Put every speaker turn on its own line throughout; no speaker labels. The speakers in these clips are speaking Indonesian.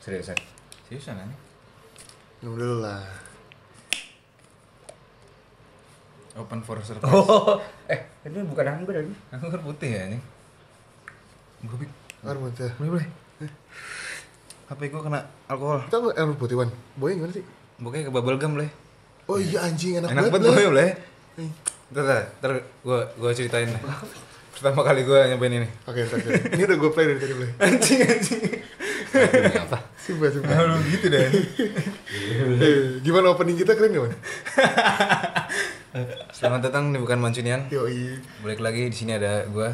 Seriusan?
Seriusan aneh.
Minum dulu lah.
Open for surprise.
Oh, eh ini bukan anggur lagi.
Anggur putih ya ini. Gue pik.
Air putih.
Boleh boleh. HP gue kena alkohol.
Kita nggak air putih Wan. Boy gimana sih?
Bukannya ke bubble gum boleh.
Oh iya anjing enak,
Enak banget
banget.
boleh
lah.
boleh.
Nih.
Ntar ntar, ntar gue gue ceritain. deh. Pertama kali gue nyobain ini.
Oke, ntar, ntar. Ini udah gue play dari tadi play.
Anjing anjing.
Ini apa?
Sumpah, sumpah.
Kalau gitu deh.
Eh, gimana opening kita keren gak, Wan?
Selamat datang di bukan Mancunian.
Yoi.
Balik lagi di sini ada gue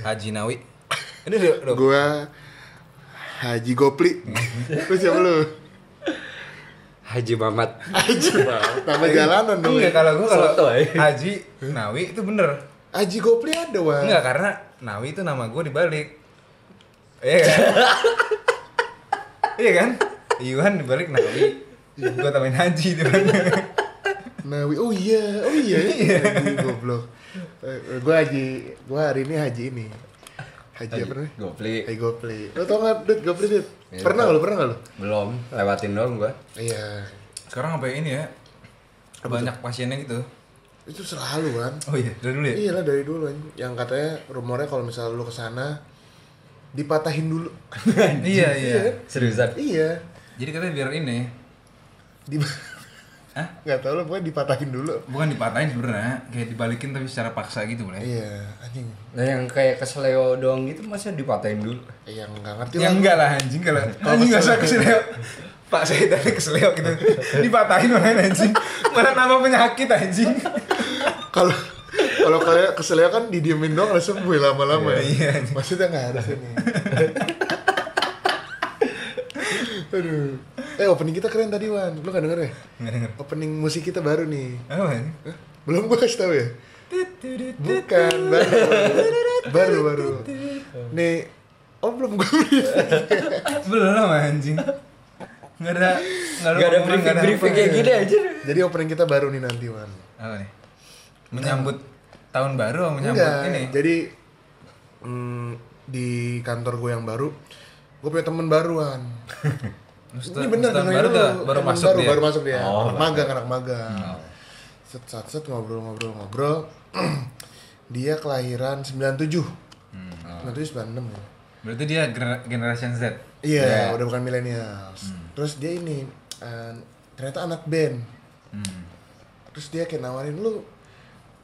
Haji Nawi. Ini udah, udah
Gua Haji Gopli. Terus siapa lu?
Haji Mamat.
Haji. Nama jalanan dong.
Enggak
ya.
Iya. kalau gue kalau
Soto, eh.
Haji Nawi itu bener.
Haji Gopli ada, Wan.
Enggak karena Nawi itu nama gue dibalik. Iya kan? iya kan? Iwan dibalik Nawi. Gue tambahin Haji di mana?
Nawi. Oh iya, oh iya. Haji goblok. Eh, gua Haji, gua hari ini Haji ini. Haji apa namanya?
Iya.
Gopli.
Haji Gopli. Lo tau gak, Dut? Gopli, Dut?
Iya,
Pernah
tau.
gak lo? Pernah gak lo?
Belum, lewatin doang gua.
Iya.
Sekarang apa ini ya? Banyak pasiennya gitu.
Itu selalu, Wan.
Oh iya, dari dulu ya.
Iya lah dari dulu anjing. Yang katanya rumornya kalau misalnya lu kesana dipatahin dulu.
iya, iya.
Seriusan?
iya.
Jadi katanya biar ini
Di
Hah?
Gak tau lo pokoknya dipatahin dulu.
bukan dipatahin sebenarnya, kayak dibalikin tapi secara paksa gitu boleh.
Iya, anjing.
Nah yang kayak kesleo doang gitu masa dipatahin dulu.
Eh, Yang nggak ngerti
Ya
lah.
enggak lah anjing kalau anjing enggak usah keseleo. Pak saya tadi keseleo gitu. Dipatahin orang anjing. Malah nama penyakit anjing.
Kalau kalau kalian keselnya kan didiemin doang langsung sembuh lama-lama
Iya,
ya. Maksudnya nggak ada sini. Aduh. Eh opening kita keren tadi Wan. Lu kan denger ya?
Enggak denger.
Opening musik kita baru nih.
Apa ini?
Hah? Belum gua kasih tau ya? Bukan, baru Baru, baru Nih, oh belum gue
Belum anjing. Enggak ada
Gak ada briefing briefing kayak
apa-apa.
gini aja.
Jadi opening kita baru nih nanti, Wan
Apa nih? Menyambut tahun baru atau menyambut
Enggak,
ini?
jadi mm, Di kantor gue yang baru Gue punya temen baruan
Ustaz-
Ini bener,
Ustaz
dengerin
baru
dulu.
dah, baru
Temen
masuk dia. Oh,
baru,
Hmm.
Baru masuk dia, anak magang, anak magang Set, set, set, ngobrol, ngobrol, ngobrol Dia kelahiran 97
Hmm.
97, 96 ya
Berarti dia gener- generation Z.
Iya,
Ya.
udah bukan milenial. Terus dia ini eh, ternyata anak band.
Hmm.
Terus dia kayak nawarin lu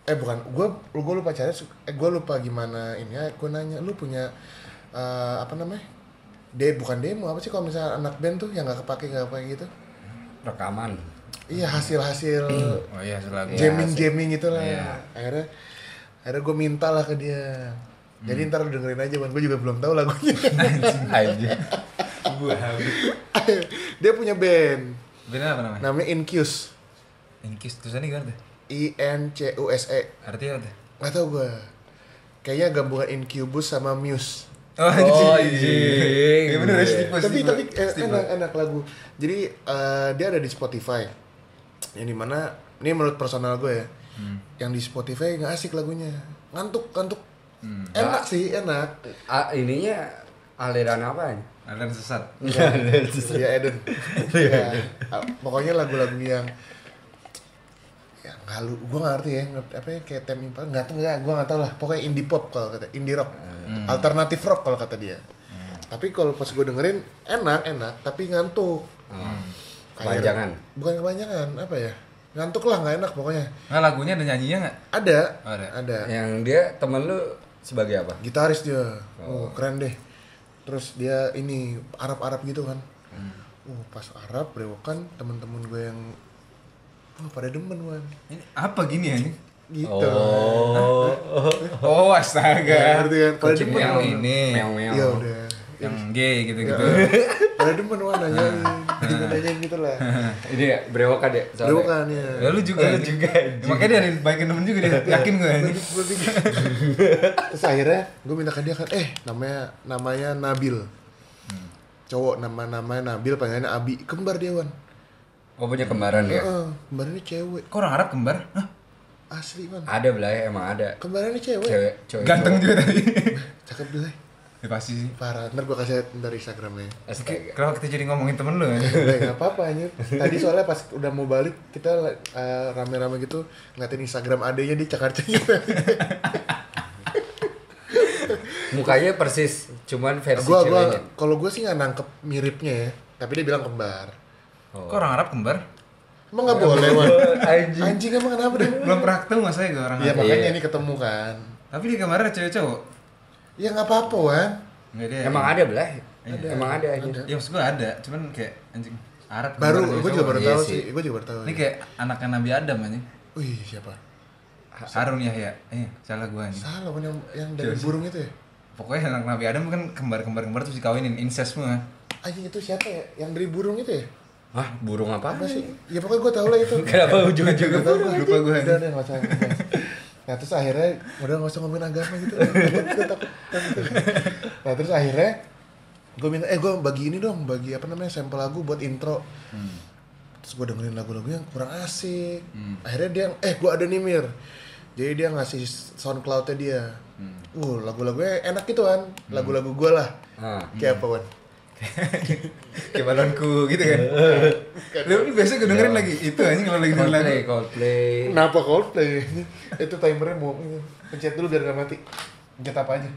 eh bukan gua gua lupa caranya su- eh gua lupa gimana ini ya gua nanya lu punya eh, apa namanya de bukan demo apa sih kalau misalnya anak band tuh yang nggak kepake nggak kepake gitu
Rekaman.
iya hasil hasil
Oh Hmm. iya, setelah gua.
jamming jamming itulah
Iya.
akhirnya akhirnya gue minta lah ke dia
Hmm.
jadi ntar lu dengerin aja bang gue juga belum tahu lagunya
Aja.
Gua habis.
dia punya band
Bener apa namanya?
namanya Incuse
Inkis tulisannya gimana tuh?
I N C U S E
Artinya apa tuh?
nggak tau gue kayaknya gabungan Incubus sama Muse
Oh,
Oh,
anjing.
anjing.
Ya bener,
Iya.
Stipe,
tapi
Stipe.
tapi eh,
Stipe.
enak enak lagu jadi eh, dia ada di Spotify yang dimana ini menurut personal gue ya yang di Spotify nggak asik lagunya ngantuk ngantuk enak sih enak
A, ininya aliran apa ya?
Aliran sesat.
ya Eden ya, ah, pokoknya lagu-lagu yang ya ngalu gue nggak ngerti ya ngerti apa ya kayak tem impal nggak tau nggak gue nggak tau lah pokoknya indie pop kalau kata indie rock alternatif rock kalau kata dia tapi kalau pas gue dengerin enak enak tapi ngantuk Kayak-
Kepanjangan.
bukan kepanjangan apa ya ngantuk lah nggak enak pokoknya
Nah, lagunya ada nyanyinya nggak?
ada
Ada.
ada
Yang dia temen lu sebagai apa?
gitaris dia oh. keren deh terus dia ini Arab Arab gitu kan uh pas Arab brewokan temen-temen gue yang wah pada demen wan
Ini apa gini ya ini?
gitu
Oh.
Oh,
Ya,
astaga.
ngerti kan pada
Kucing
demen
yang
wan
ini,
Meong meong.
ya udah
yang gay gitu-gitu.
pada demen wan nanyain gitu nanyain gitu lah
Ini ya brewokan ya. soalnya.
brewokan ya
Ya, lu juga. Lu juga. Makanya dia baikin temen juga dia. Yakin gue ini.
Gua pikir. terus akhirnya gue minta ke dia kan eh namanya namanya Nabil cowok nama namanya Nabil panggilannya Abi kembar dia wan
Oh punya kembaran ya?
Heeh, kembarannya cewek
Kok orang Arab kembar? Hah?
asli wan
Ada belah ya, emang ada.
kembarannya cewek
Cewek, cewek.
Ganteng juga tadi.
cakep deh
Ya pasti sih.
Parah, ntar gue kasih liat ntar Instagramnya
Astaga.
Kenapa kita jadi ngomongin temen lu ya?
Udah nggak apa-apa anjir Tadi soalnya pas udah mau balik Kita eh, rame-rame gitu Ngeliatin Instagram adenya di cakar-cakar
Mukanya persis, cuman versi
Gua, gua,
ceweknya.
kalau gue sih nggak nangkep miripnya ya Tapi dia bilang kembar
Kok orang Arab kembar?
Emang nggak boleh, Wan?
Anjing.
Anjing emang kenapa deh?
Belum pernah ketemu nggak saya gue orang
Ya
Arab.
makanya
Iya.
ini ketemu kan
Tapi di kamar ada cewek cowok.
Ya nggak apa-apa, Wan
Enggak dia.
Emang ada belah. Emang ada aja.
Ya maksud gue Iya, ada, cuman kayak anjing Arab. kembar
Baru,
ada
gue
cowok.
juga baru
iya
tahu
sih.
sih Gue juga baru tahu
Ini kayak anaknya Nabi Adam anjing.
Wih, siapa?
Harun Yahya. Eh, salah gue anjing.
Salah, Wan, yang, yang dari burung itu ya?
Pokoknya anak Nabi Adam kan kembar-kembar-kembar terus dikawinin incest semua.
Anjing itu siapa ya? Yang dari burung itu ya?
Hah, burung apa?
Apa sih? Ya pokoknya gue tau lah itu.
Kenapa ujung-ujungnya
Gak tau
burung
gua.
aja?
Udah udah nggak usah. nggak usah. Nah terus akhirnya udah nggak usah ngomongin agama gitu. Takut, gua takut, takut. Nah terus akhirnya gue minta eh gue bagi ini dong bagi apa namanya sampel lagu buat intro. Terus gue dengerin lagu-lagu yang kurang asik. Akhirnya dia eh gue ada nih Mir. Jadi dia ngasih soundcloudnya dia. Uh lagu-lagunya enak gitu kan. Lagu-lagu gue lah.
Ah.
Kayak apa Wan?
Kayak balonku gitu kan. Lu lu biasa gue dengerin lagi itu anjing kalau lagi dengerin lagu.
Ya. Coldplay, Coldplay.
Kenapa Coldplay? itu timernya mau pencet dulu biar gak mati. Pencet apa aja?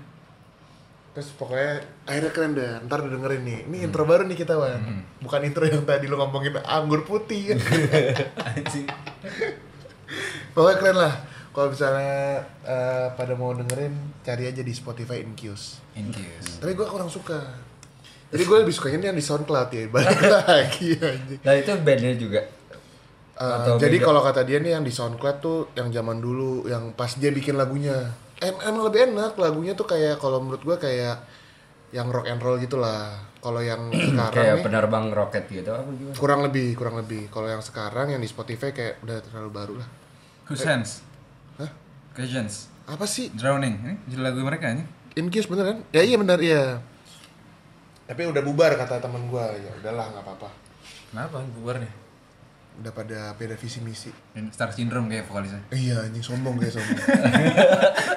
Terus pokoknya akhirnya keren dah. Ntar lu dengerin nih. Ini intro baru nih kita wan. Bukan intro yang tadi lu ngomongin anggur putih.
Anjing.
pokoknya keren lah. Kalau misalnya eh, pada mau dengerin, cari aja di Spotify Incuse.
In case.
Tapi gue kurang suka. Jadi gue lebih sukanya yang di SoundCloud ya. Balik lagi anjing.
Nah, itu bandnya juga.
Eh,
Atau
jadi
beda?
kalau kata dia nih yang di SoundCloud tuh yang zaman dulu yang pas dia bikin lagunya em emang lebih enak lagunya tuh kayak kalau menurut gua kayak yang rock and roll gitulah kalau yang sekarang
Kayak
nih
penerbang roket gitu apa gimana?
kurang lebih kurang lebih kalau yang sekarang yang di Spotify kayak udah terlalu baru lah
Cousins.
Hah?
Cousins.
apa sih
Drowning. Ini judul lagu mereka anjing.
Incuse bener kan ya iya bener iya tapi udah bubar kata teman gua ya udahlah nggak apa-apa
Kenapa bubarnya?
udah pada beda visi misi
Star Syndrome kayak vokalisnya.
iya anjing sombong kayak sombong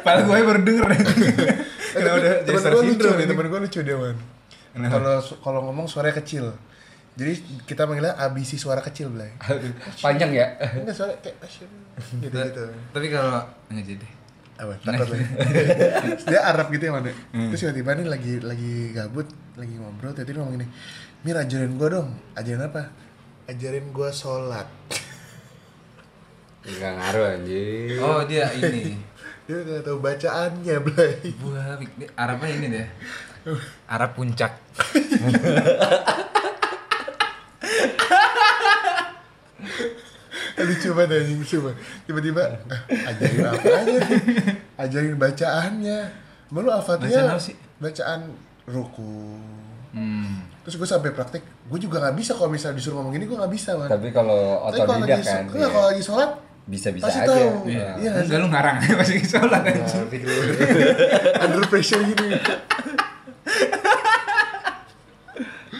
Padahal gue baru denger anjing. Kenapa udah jadi Nah.
temen
Star
gue lucu
Syndrome
nih,
ini?
temen gue lucu dia man
Kenapa?
kalau su- kalau ngomong suaranya kecil jadi kita manggilnya abisi suara kecil belai
Aduh, Panjang ya?
enggak suara kayak asyik gitu gitu
Tapi kalau nggak jadi.
apa
Nah.
takut lagi dia Arab gitu ya man ya.
Hmm.
terus tiba-tiba nih lagi lagi gabut lagi ngobrol tiba-tiba ngomong gini Mir ajarin gue dong ajarin apa ajarin gue sholat
Enggak ngaruh anjir.
Oh dia ini.
dia nggak tahu bacaannya belai
Buah, dia Arabnya ini deh. Arab puncak.
lucu banget anjing lucu banget tiba-tiba ah, ajarin apa aja ajarin bacaannya Emang lu
Bacaan
al-fatihah
apa sih?
bacaan ruku
Hmm.
terus gue sampai praktek gue juga nggak bisa kalau misalnya disuruh ngomong ini gue nggak bisa man
Tapi kalau
lagi hmm.
otodidak kan.
so-
iya.
enggak, kalau lagi sholat
Bisa-bisa
Pasti
aja.
tahu.
Iya.
Iya,
Iya, enggak lu ngarang masih sholat anjing.
under pressure gini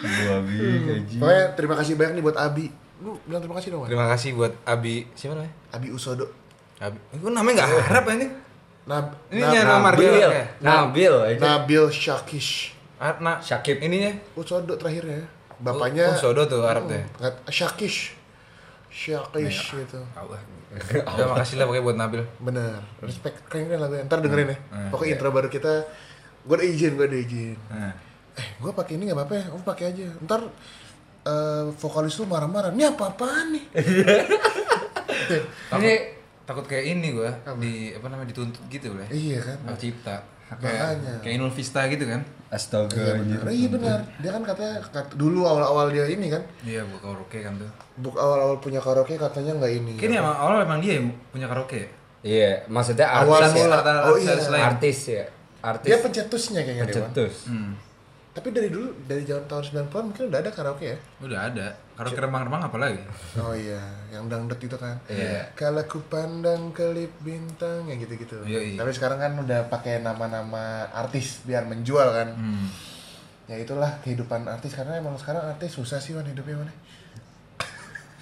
Gua bi anjing.
pokoknya terima kasih banyak nih buat Abi lu bilang terima kasih dong man
Terima kasih buat Abi siapa namanya?
Abi Usodo
Abi. Gue namanya nggak Arab anjing.
Nab,
Ini
Nab-
nyari- Nama
Nabil.
Mardian ya?
Nabil
Nah.
aja.
Nabil Syakish
Ar- na-
Syakib.
ininya.
Usodo Oh, terakhirnya ya?
Oh,
bapaknya
Sodo tuh Arab tuh. ya?
nggak- Syakish Syakish
Iya.
gitu
Allah. Ya makasih lah pokoknya buat Nabil.
Bener, respect keren keren lagunya. Ntar
Hmm.
dengerin ya. Pokoknya
Iya.
intro baru kita, gue ada izin, gue ada izin.
Nah.
Eh, gue pakai ini nggak apa-apa ya, gue pakai aja. Ntar eh, vokalis lu marah-marah, ini apa-apaan nih?
Takut,
Ini
takut kayak ini gua di apa namanya dituntut gitu boleh.
iya kan?
Hak cipta. Hak
Makanya.
Kayak, kayak Inul Vista gitu kan.
Iya
astaga
benar.
anjir.
Iya benar. Dia kan katanya kat- dulu awal-awal dia ini kan,
Iya, gua karaoke kan tuh.
buk awal-awal punya karaoke katanya nggak ini.
Kayaknya emang awal emang dia yang punya karaoke. ya?
Iya, maksudnya
Awal
artis. ya.
mula.
Rata-rata
Oh, iya.
selain-
Artis ya. Artis.
Dia pencetusnya kayaknya dia. Wan.
pencetus.
Hmm.
Tapi dari dulu dari zaman tahun 90-an mungkin udah ada karaoke ya.
Udah ada. Karaoke remang-remang apalagi?
Oh iya, yang dangdut itu kan.
Iya.
Kalau ku pandang kelip bintang yang gitu-gitu.
Yoi.
Tapi sekarang kan udah pakai nama-nama artis biar menjual kan.
Hmm.
Ya itulah kehidupan artis karena emang sekarang artis susah sih wan hidupnya
Iya.
wan.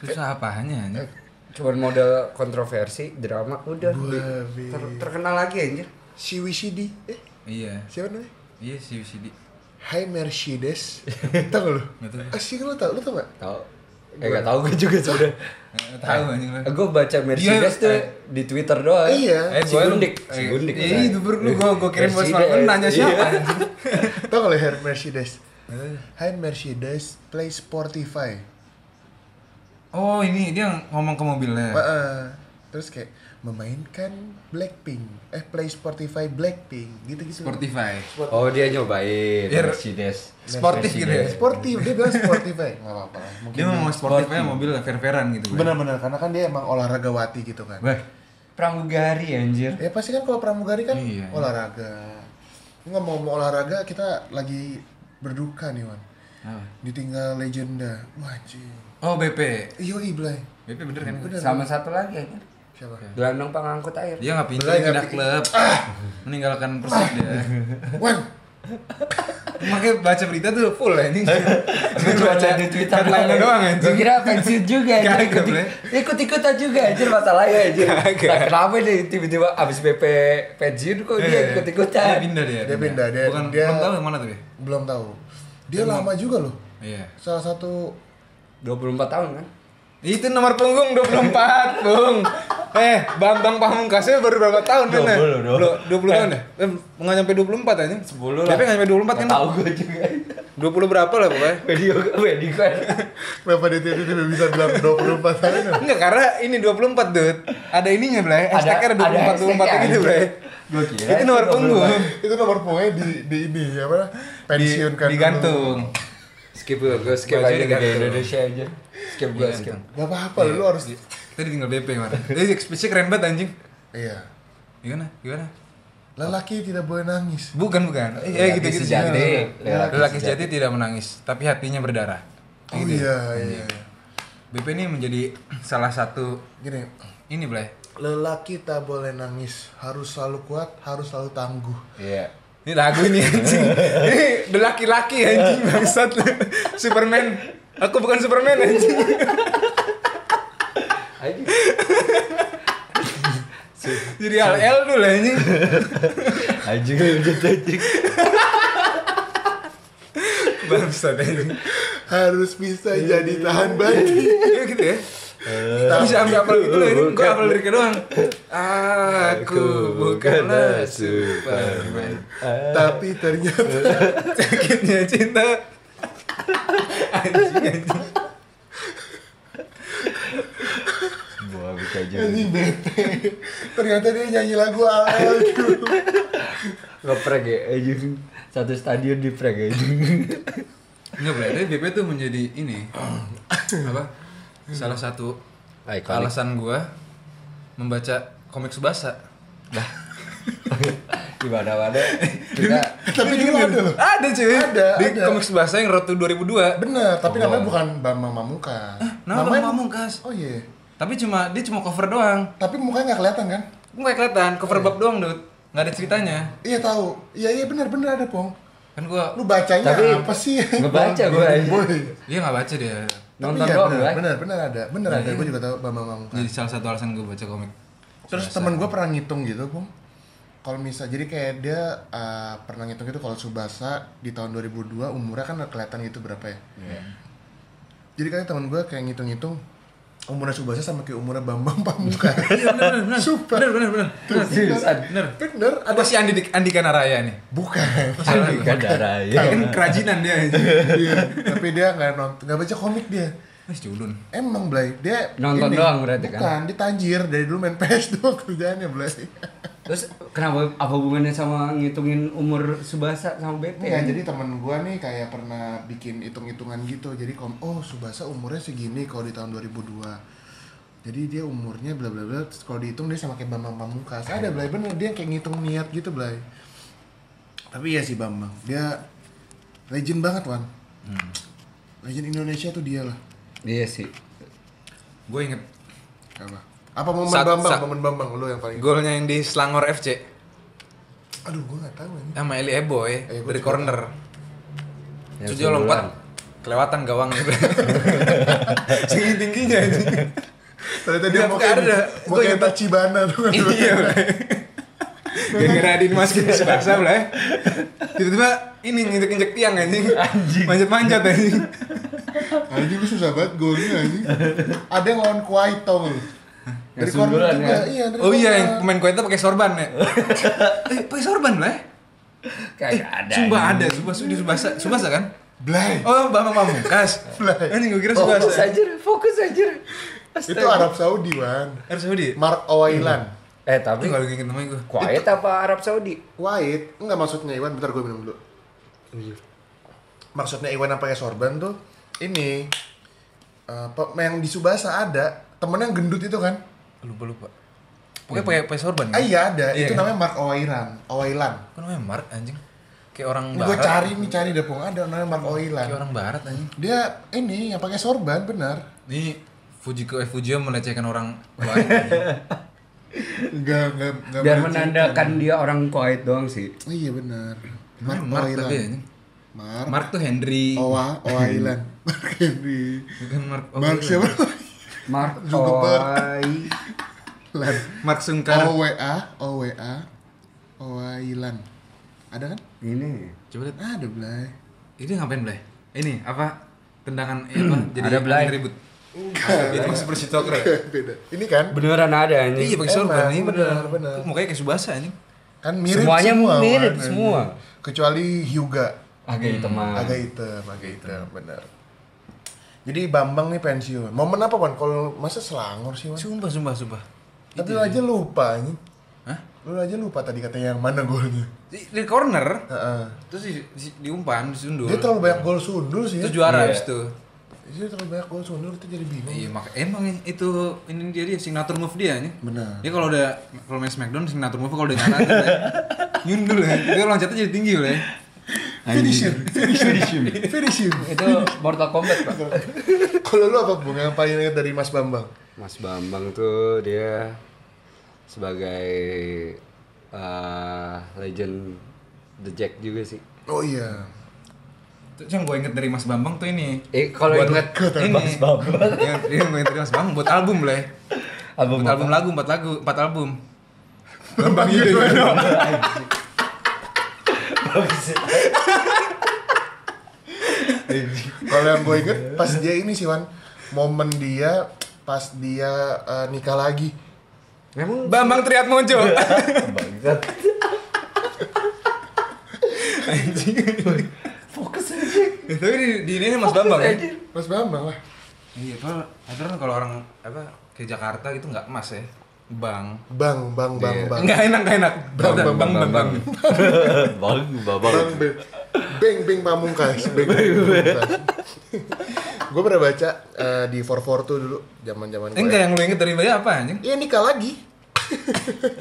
Susah apanya anjing.
Cuman model kontroversi, drama udah
Wah,
Ter- terkenal lagi anjir.
Siwi Sidi, eh
Iya.
siapa namanya?
Iya si UCD.
Hai Mercedes, tau gak lu?
Nggak tahu.
Ah sih lu tau, lu tau gak?
Tahu. Eh gak tahu gue juga sebenarnya.
Nggak Eh, Tahu anjing lah.
gue baca Mercedes
Iya,
tuh
eh.
di Twitter doang.
Iya.
Eh, si
gua-
Gundik,
eh,
si Gundik.
Iya, itu bro, lu gua gua kirim voice
Mercedes.
note lu nanya siapa.
Iya.
anjing.
tau gak lu Hai Mercedes? Hai Mercedes, play Spotify.
Oh, ini dia yang ngomong ke mobilnya.
Wah, eh, terus kayak memainkan Blackpink, eh play Spotify Blackpink, gitu-gitu.
Spotify.
Oh dia nyobain
Biar-
Mercedes.
Sportif gitu ya.
Sportif, dia bilang Spotify. Gak apa-apa lah, mungkin.
Dia mau Spotify mobil fair-fairan gitu. gua.
Bener-bener, karena kan dia emang olahragawati gitu kan.
Wah,
Pramugari anjir.
Ya pasti kan kalau pramugari kan
Iya.
olahraga. Ngomong-ngomong olahraga, kita lagi berduka nih, Wan.
Apa?
Ditinggal legenda. Wah, anjing.
Oh, BP.
Iyo Iblay.
BP bener kan?
Sama satu lagi anjir.
Siapa?
Iya.
Gelandang pengangkut air.
Dia nggak pindah
Belai nggak
pindah
pi-
klub. Meninggalkan Persib dia.
Wan.
Makanya baca berita tuh full ya ini.
Gue cuma baca di Twitter
Headline-nya doang anjing.
Gue kira
Iya,
pensiun juga
Kagak,
anjir. Ikut,
boleh.
ikut ikutan juga anjir masalahnya anjir.
Kagak.
Nah, kenapa nih tiba-tiba abis BP pensiun kok
iya.
dia ikut
Eh, Dia
ikutan?
pindah dia.
Dia pindah, dia-
Bukan
dia-
belum tahu yang mana tuh ya.
Belum tahu. Dia lama juga loh.
Iya.
Salah satu
24 tahun kan?
Itu nomor punggung 24, Bung. Eh, Bambang Pamungkasnya baru berapa tahun kan?
20 dong.
20 tahun ya? Eh, nggak nyampe 24 aja. 10
lah.
Tapi nggak nyampe 24 kan?
Tahu gue juga.
20 berapa lah pokoknya.
Video gue, video gue.
Kenapa dia tiba-tiba bisa bilang 24 tahun?
Enggak, karena ini 24, Dut. Ada ininya, Blay. Hashtagnya ada 24, 24 gitu, Blay.
Gue kira.
Itu nomor punggung.
Itu nomor pungnya di, di ini, apa? Pensiunkan.
Di-
dulu.
Digantung.
Skip gue, gue skip
Baju
aja
digantung.
Liga Indonesia aja. Skip gue, skip.
Gak apa-apa, lu
Iya.
harus...
Kita ditinggal BP kemarin. Jadi ekspresi keren banget anjing.
Iya.
Gimana? Gimana?
Lelaki tidak boleh nangis.
Bukan bukan.
Lelaki
Ya gitu gitu.
sejati. Lelaki
Lelaki sejati tidak menangis, tapi hatinya berdarah.
Oh iya, iya.
BP ini menjadi salah satu
Gini,
ini Blay.
lelaki tak boleh nangis. Harus selalu kuat, harus selalu tangguh.
Iya.
Ini lagu ini anjing. Ini the laki-laki anjing bangsat. Superman. Aku bukan Superman anjing.
Ayo.
Jadi LL dulu anjing.
Anjing lanjut anjing.
Bangsat
gitu.
anjing.
Harus bisa jadi tahan banting.
Iya gitu ya. Kita bisa ambil apel gitu loh, ini gue apel liriknya doang Aku bukanlah Superman
Tapi
Iya.
ternyata
Sakitnya cinta Anjing anjing
Buah buka aja.
ini bete. Ternyata dia nyanyi lagu awal dulu.
Ngeprek ya anjing. Satu stadion di prek anjing.
Enggak Blay, tapi BP tuh menjadi ini apa? Salah satu
Iconic.
alasan gua membaca komik Subasa.
di mana mana kita
Tapi dulu ada loh.
Ada cuy
Ada,
Di
ada.
komik bahasa yang Road to 2002
Bener, tapi namanya bukan Bambang Mamungkas.
Nah,
Namanya-
Bang Pamungkas.
Oh iya.
Tapi cuma dia cuma cover doang.
Tapi mukanya nggak kelihatan kan?
Gue gak kelihatan, cover bab doang, Dut. Gak ada ceritanya.
Iya tahu. Iya iya benar-benar ada pong.
Kan gua
Lu bacanya
Tapi-
apa sih?
Ngebaca gua,
Golden
iya.
Boy.
dia gak baca dia.
nonton
Tapi iya,
doang iya.
bener,
kan
bener, bener ada, bener ada. Gue juga tahu Bambang Mamungkas.
Jadi salah satu alasan gua baca komik.
Terus temen gue pernah ngitung gitu, Bung. Kalau misal jadi kayak dia uh, pernah ngitung gitu kalau Subasa di tahun 2002 umurnya kan kelihatan gitu berapa ya.
Iya.
Jadi kan temen gue kayak ngitung-ngitung umurnya Subasa sama kayak umurnya Bambang Pamungkas.
Iya,
Super.
Bener bener bener.
seriusan
Bener.
Bener
Apa si Andi Andika Naraya nih?
bukan.
kan darah ya
Kan kerajinan dia.
Iya, tapi dia nggak nonton, nggak baca komik dia.
Wes culun.
Emang Blay, dia
Nonton doang berarti kan?
Bukan, dia tanjir dari dulu main PS doang kerjaannya Blay.
terus kenapa apa hubungannya sama ngitungin umur subasa sama BP
Iya,
ya?
jadi temen gua nih kayak pernah bikin hitung-hitungan gitu. Jadi kom, oh Subasa umurnya segini kalau di tahun 2002. Jadi dia umurnya bla bla bla. Terus Kalau dihitung dia sama kayak Bambang Pamungkas. Ada Blay bener dia kayak ngitung niat gitu Blay. Tapi ya si Bambang, dia legend banget Wan. Hmm. Legend Indonesia tuh dia lah.
iya sih
Gue inget
Apa? Apa momen
Sat-
Bambang?
sat-
Momen Bambang lu yang paling.
Golnya yang di Selangor FC
Aduh, gua nggak tahu ini.
sama Eli Eboy
Eboy
dari
Iya, juga.
corner.
Ya,
Yang
Terus dia lompat kelewatan gitu. gawangnya.
Tinggi tingginya anjing
Ternyata dia
Iya,
mau
bukan,
kayak
ada.
mau
Gua
kayak
ingat.
Tachibana tuh kan.
Iya.
Iya, Gara-gara Adi dimasukin
Iya.
ke basah lah ya. Tiba-tiba ini nginjek-injek tiang anjing.
Anjing.
Manjat-manjat anjing.
Anjing lu susah banget golnya anjing. Ada yang lawan Kuwait tau lu. Dari corner
sundulan
juga,
ya?
iya dari
Oh iya
corner.
yang pemain Kuwaitnya pakai sorban ya. eh, pakai sorban lah. ya? Eh,
Kagak ada.
Subasa
ini.
ada, Subasa di Subasa, Subasa kan?
Blay.
Oh, Bambang Pamungkas. Ini gue kira
Oh.
Fokus
Subasa.
aja, fokus aja. Astaga.
Itu Arab Saudi, Wan.
Harus Saudi.
Mark Owailan.
Eh
Tapi
tapi
kalau inget namanya gue.
quiet apa Arab Saudi?
Kuwait, enggak maksudnya Iwan, bentar gue minum dulu.
Iya.
Maksudnya Iwan yang pakai sorban tuh ini apa yang di Subasa ada temennya yang gendut itu kan?
Eh, Lupa lupa. Pokoknya pakai pakai sorban.
Ah iya ada,
Iya,
itu
kan?
namanya Mark Owailan. Owailan.
Kan namanya Mark anjing. Kayak orang
Ini
barat.
gue cari nih cari deh Pung. ada namanya
Iya.
Mark Oilan.
Kayak orang barat anjing.
Dia ini yang pakai sorban benar.
Ini Fujiko eh Fujio melecehkan orang lain. anjing.
Enggak enggak enggak.
Biar
bener.
menandakan dia orang kuat doang sih.
Iya benar. Mark
Mark
Oilan.
tapi anjing.
Mark
Mark tuh Henry.
Owa Oilan. Mark Henry.
Bukan Mark. oh,
Mark
bukan.
siapa?
Mark
Zuckerberg.
Oi.
Lan.
Mark
Oh.
Sungkar.
OWA OWA Oilan. Ada kan?
Ini.
Coba lihat.
Ada belai.
Ini ngapain Blay? Ini apa? Tendangan eh, apa? Jadi
Ada, Blay.
angin ribut. Enggak. Itu super citokra.
Beda. Ini kan
Beneran ada
Iya
ini.
pakai sorban
Emang,
ini
bener,
bener.
bener.
Kok Mukanya kayak Subasa anjing.
kan mirip
Semuanya
semua,
mirip
Wan.
semua.
Kecuali Hyuga.
Agak teman.
agak hitam, agak hitam, benar. Jadi Bambang nih pensiun. Momen apa Wan? Kalau masa Selangor sih Wan?
Sumpah, sumpah, sumpah.
Tapi lu aja lupa ini.
Hah?
Lu aja lupa tadi katanya yang mana golnya.
Di, di corner,
Heeh.
terus di, di- diumpan, disundul.
Dia terlalu banyak gol sundul sih. ya.
Terus juara
Iya.
abis itu.
Dia Iya, terlalu banyak gol sundul kita jadi bingung.
Iya, mak emang itu ini dia dia signature move dia nih.
Benar.
Dia kalau udah kalau main Smackdown signature move kalau udah nyala tuh, ya. nyundul ya. Dia loncatnya jadi tinggi loh ya.
Finish him, finish him, finish him.
Itu Mortal Kombat pak.
Kalau lu apa Bung yang paling ingat dari Mas Bambang?
Mas Bambang tuh dia sebagai eh, legend The Jack juga sih.
Oh iya.
Terus yang gue inget dari Mas Bambang tuh ini.
Eh kalau ingat
ini. Iya,
Mas Bambang.
Yang, yang gue inget dari Mas Bambang buat album lah. ya.
Album
buat
apa?
album lagu, empat lagu, empat album.
Bambang Yudhoyono. Kalau yang gue inget pas dia ini sih Wan, momen dia pas dia eh, nikah lagi.
memang
Bambang Triat Mojo.
Bangsat. Fokus aja.
Ya, Tapi di, di ini Mas Bambang ya.
Anjir.
Mas Bambang lah.
Iya, kalau aturan kalau orang apa ke Jakarta gitu nggak emas ya. Bang.
Bang, bang, bang,
Iya.
bang.
Nggak enak, nggak enak.
Bang,
Udah,
bang, bang,
bang.
Bang, babang.
Bang Beng. Beng Beng Pamungkas. Beng Beng Pamungkas. gue pernah baca eh, di 442 dulu zaman-zaman ya.
Eh, Enggak yang lu inget dari bayi apa anjing?
Iya nikah lagi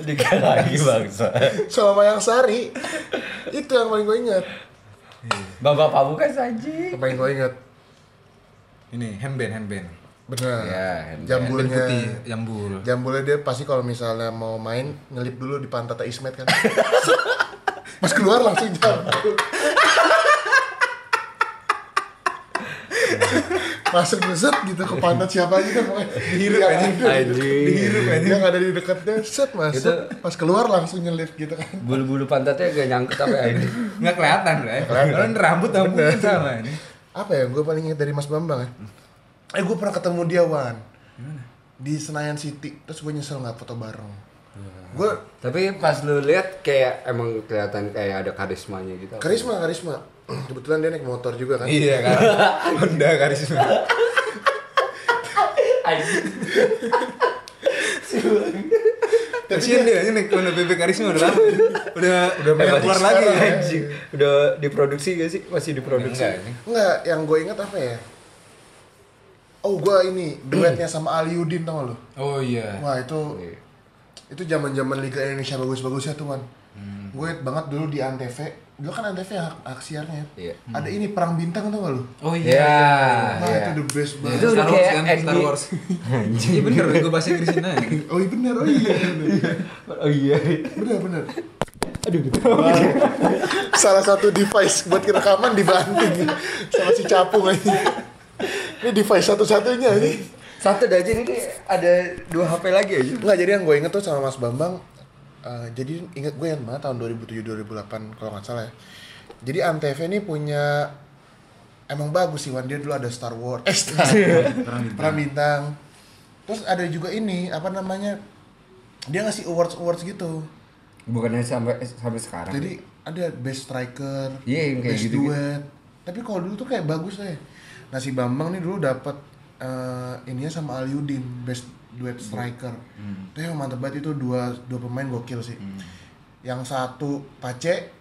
Dikit lagi bangsa.
sama Mayang Sari. Itu yang paling gue inget.
Bapak Pamukas aja.
Yang paling gue inget.
Ini handband, handband.
Benar.
Ya, handband.
Iya, Handband
jambulnya.
putih, jambul.
Jambulnya dia pasti kalau misalnya mau main ngelip dulu di pantat Tata Ismet kan. Pas keluar langsung jambul. Masuk beset gitu ke pantat siapa aja kan pokoknya.
Dihirup
Yang
anjing.
ada-
Anjing.
Dihirup anjing. Yang ada di dekatnya set masuk.
Itu-
Pas keluar langsung nyelip gitu kan.
bulu-bulu pantatnya agak nyangkut apa ya ini.
Nggak kelihatan lah. ya. Kalau ini rambut sama mungkin sama ini.
Apa ya gue paling ingat dari Mas Bambang ya? Eh gue pernah ketemu dia Wan. Di Senayan City. Terus gue nyesel nggak foto bareng. Gue
Tapi pas lu lihat kayak emang kelihatan kayak ada karismanya gitu.
karisma karisma. Kebetulan dia naik motor juga kan.
Iya kan. Honda karisma.
Anjir.
Kasian dia anjing naik Honda BB karisma udah lama. Eh, Udah udah
banyak
keluar
sekarang,
Iya,
lagi. ya.
Anjing. Udah diproduksi gak sih? Masih diproduksi.
Enggak, anjing.
Enggak, yang gue inget apa ya? Oh, gue ini duetnya sama Aliudin tau lo.
Oh
Ah,
iya.
Wah itu itu zaman-zaman Liga Indonesia bagus-bagusnya tuh Wan. Gue inget banget dulu di Antv. Dulu kan Antv hak, hak siarnya.
Iya.
Ada ini perang bintang tau gak lo?
Oh
Ya.
Wah
iya.
itu the best banget.
Itu udah
Star Wars
kayak
kan, Star
NBA.
Wars. Iya bener, gue bahasa Inggrisnya anjing.
Oh iya bener, oh iya bener.
Oh iya.
bener bener. Aduh, salah satu device buat rekaman dibanting sama si capung aja. Ini device satu-satunya ini.
Satu aja ini ada dua HP lagi aja.
Enggak, jadi yang gue inget tuh sama Mas Bambang eh, jadi ingat gue yang mana tahun 2007-2008 kalau nggak salah ya. Jadi Antv ini punya emang bagus sih Wan dia dulu ada Star Wars, eh, Star Perang Bintang. Terus ada juga ini apa namanya dia ngasih awards awards gitu.
Bukannya sampai sampai sekarang.
Jadi ada best striker,
Iya, yang kayak
best
gitu-gitu.
duet. Tapi kalau dulu tuh kayak bagus deh. Nah si Bambang nih dulu dapat eh ininya sama Aliudin best duet
Hmm.
striker. Itu yang mantep banget itu dua dua pemain gokil sih.
Hmm.
Yang satu Pace,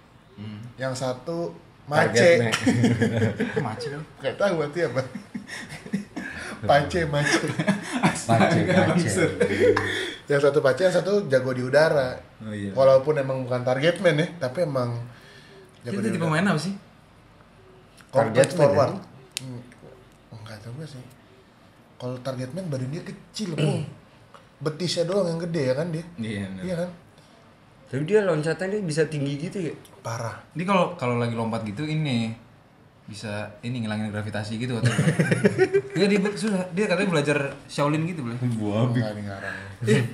yang satu Mace.
Targetnya.
Gak tahu berarti apa. Pace, Mace.
Pace, pace.
yang satu Pace, yang satu jago di udara.
Oh, iya.
Walaupun emang bukan target man ya, tapi emang jago
Itu
di
tipe
udara.
main apa sih?
Complete
ya?
Targetman
forward. Hmm, Enggak tahu gue sih. Kalau targetman badan dia kecil, Bro. Betisnya doang yang gede ya kan dia?
Hmm. Iya, benar.
Iya kan?
Tapi dia loncatannya bisa tinggi gitu ya?
Parah.
Ini kalau kalau lagi lompat gitu ini bisa ini ngilangin gravitasi gitu atau dia di, sudah dia katanya belajar Shaolin gitu boleh
Enggak nih ngarang.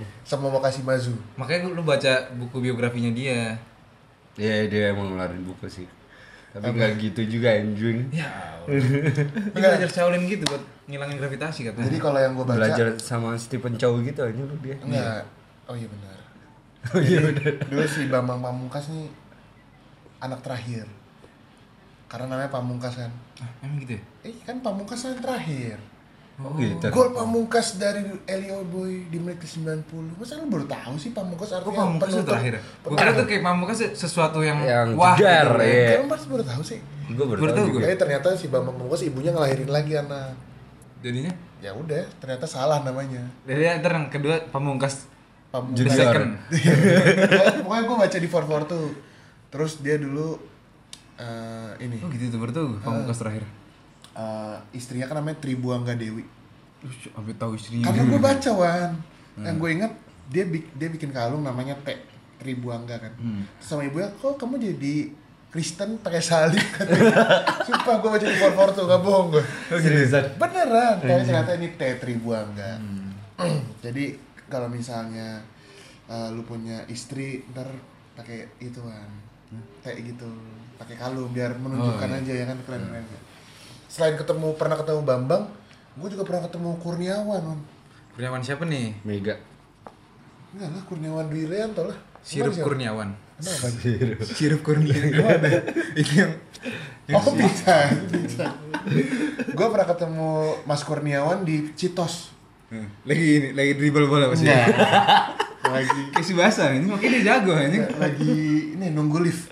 Sama Wakashi Mazu.
makanya lu baca buku biografinya dia
Iya dia emang ngeluarin buku sih. Tapi nggak gitu juga anjing.
ya Allah. dia belajar Shaolin gitu buat ngilangin gravitasi katanya
Jadi kalau yang gue baca
Belajar sama Stephen Chow gitu aja lu dia.
ya?
Enggak. Oh iya benar.
Oh, iya,
Dulu si Bambang Pamungkas nih anak terakhir. Karena namanya Pamungkas kan.
Ah, emang gitu ya?
Eh kan Pamungkas yang terakhir.
Oh gitu.
Gol Pamungkas dari Elio Boy di menit ke-90. Masa lu baru tahu sih
Kok
Pamungkas artinya
pamungkas itu
Penutup-
terakhir? ya? Gua kira tuh kayak pamungkas sesuatu yang,
Yang
wah
jedar,
gitu.
iya.
Kayak lu pasti baru tahu sih.
Gue baru
Baru
tahu
tahu
juga.
Jadi ternyata si Bambang Pamungkas ibunya ngelahirin lagi anak.
Jadinya
Ya udah, ternyata salah namanya.
dari ntar yang kedua pamungkas
Pamungkas.
the second.
Pokoknya gue baca di 442 Terus dia dulu eh, ini
Oh gitu tuh baru tahu gua,
Ah.
pamungkas terakhir.
eh, istrinya kan namanya Tribuangga Dewi.
Duh, sampai tahu istrinya.
Karena gue baca wan, yang gue inget dia bik- dia bikin kalung namanya T Tribuangga kan. Terus sama ibunya, kok kamu jadi Kristen pakai salib katanya. Sumpah gue baca di 442 gak bohong gue.
Seriusan.
Beneran, tapi ternyata ini T Tribuangga. Jadi kalau misalnya eh, lu punya istri ntar pakai ituan kayak gitu pakai kalung biar menunjukkan aja ya kan keren keren selain ketemu pernah ketemu Bambang gue juga pernah ketemu Kurniawan Wan.
Kurniawan siapa nih?
Mega.
enggak lah Kurniawan Dwi Rianto lah
Sirup
Emang siapa?
Kurniawan.
Emang apa?
Sirup Kurniawan. Ini yang Iya.
oh bisa bisa gue pernah ketemu Mas Kurniawan di Citos
Hmm. lagi ini lagi dribble bola pasti.
Iya.
lagi
Kayak si Basa ini makanya dia jago anjing.
lagi ini nunggu lift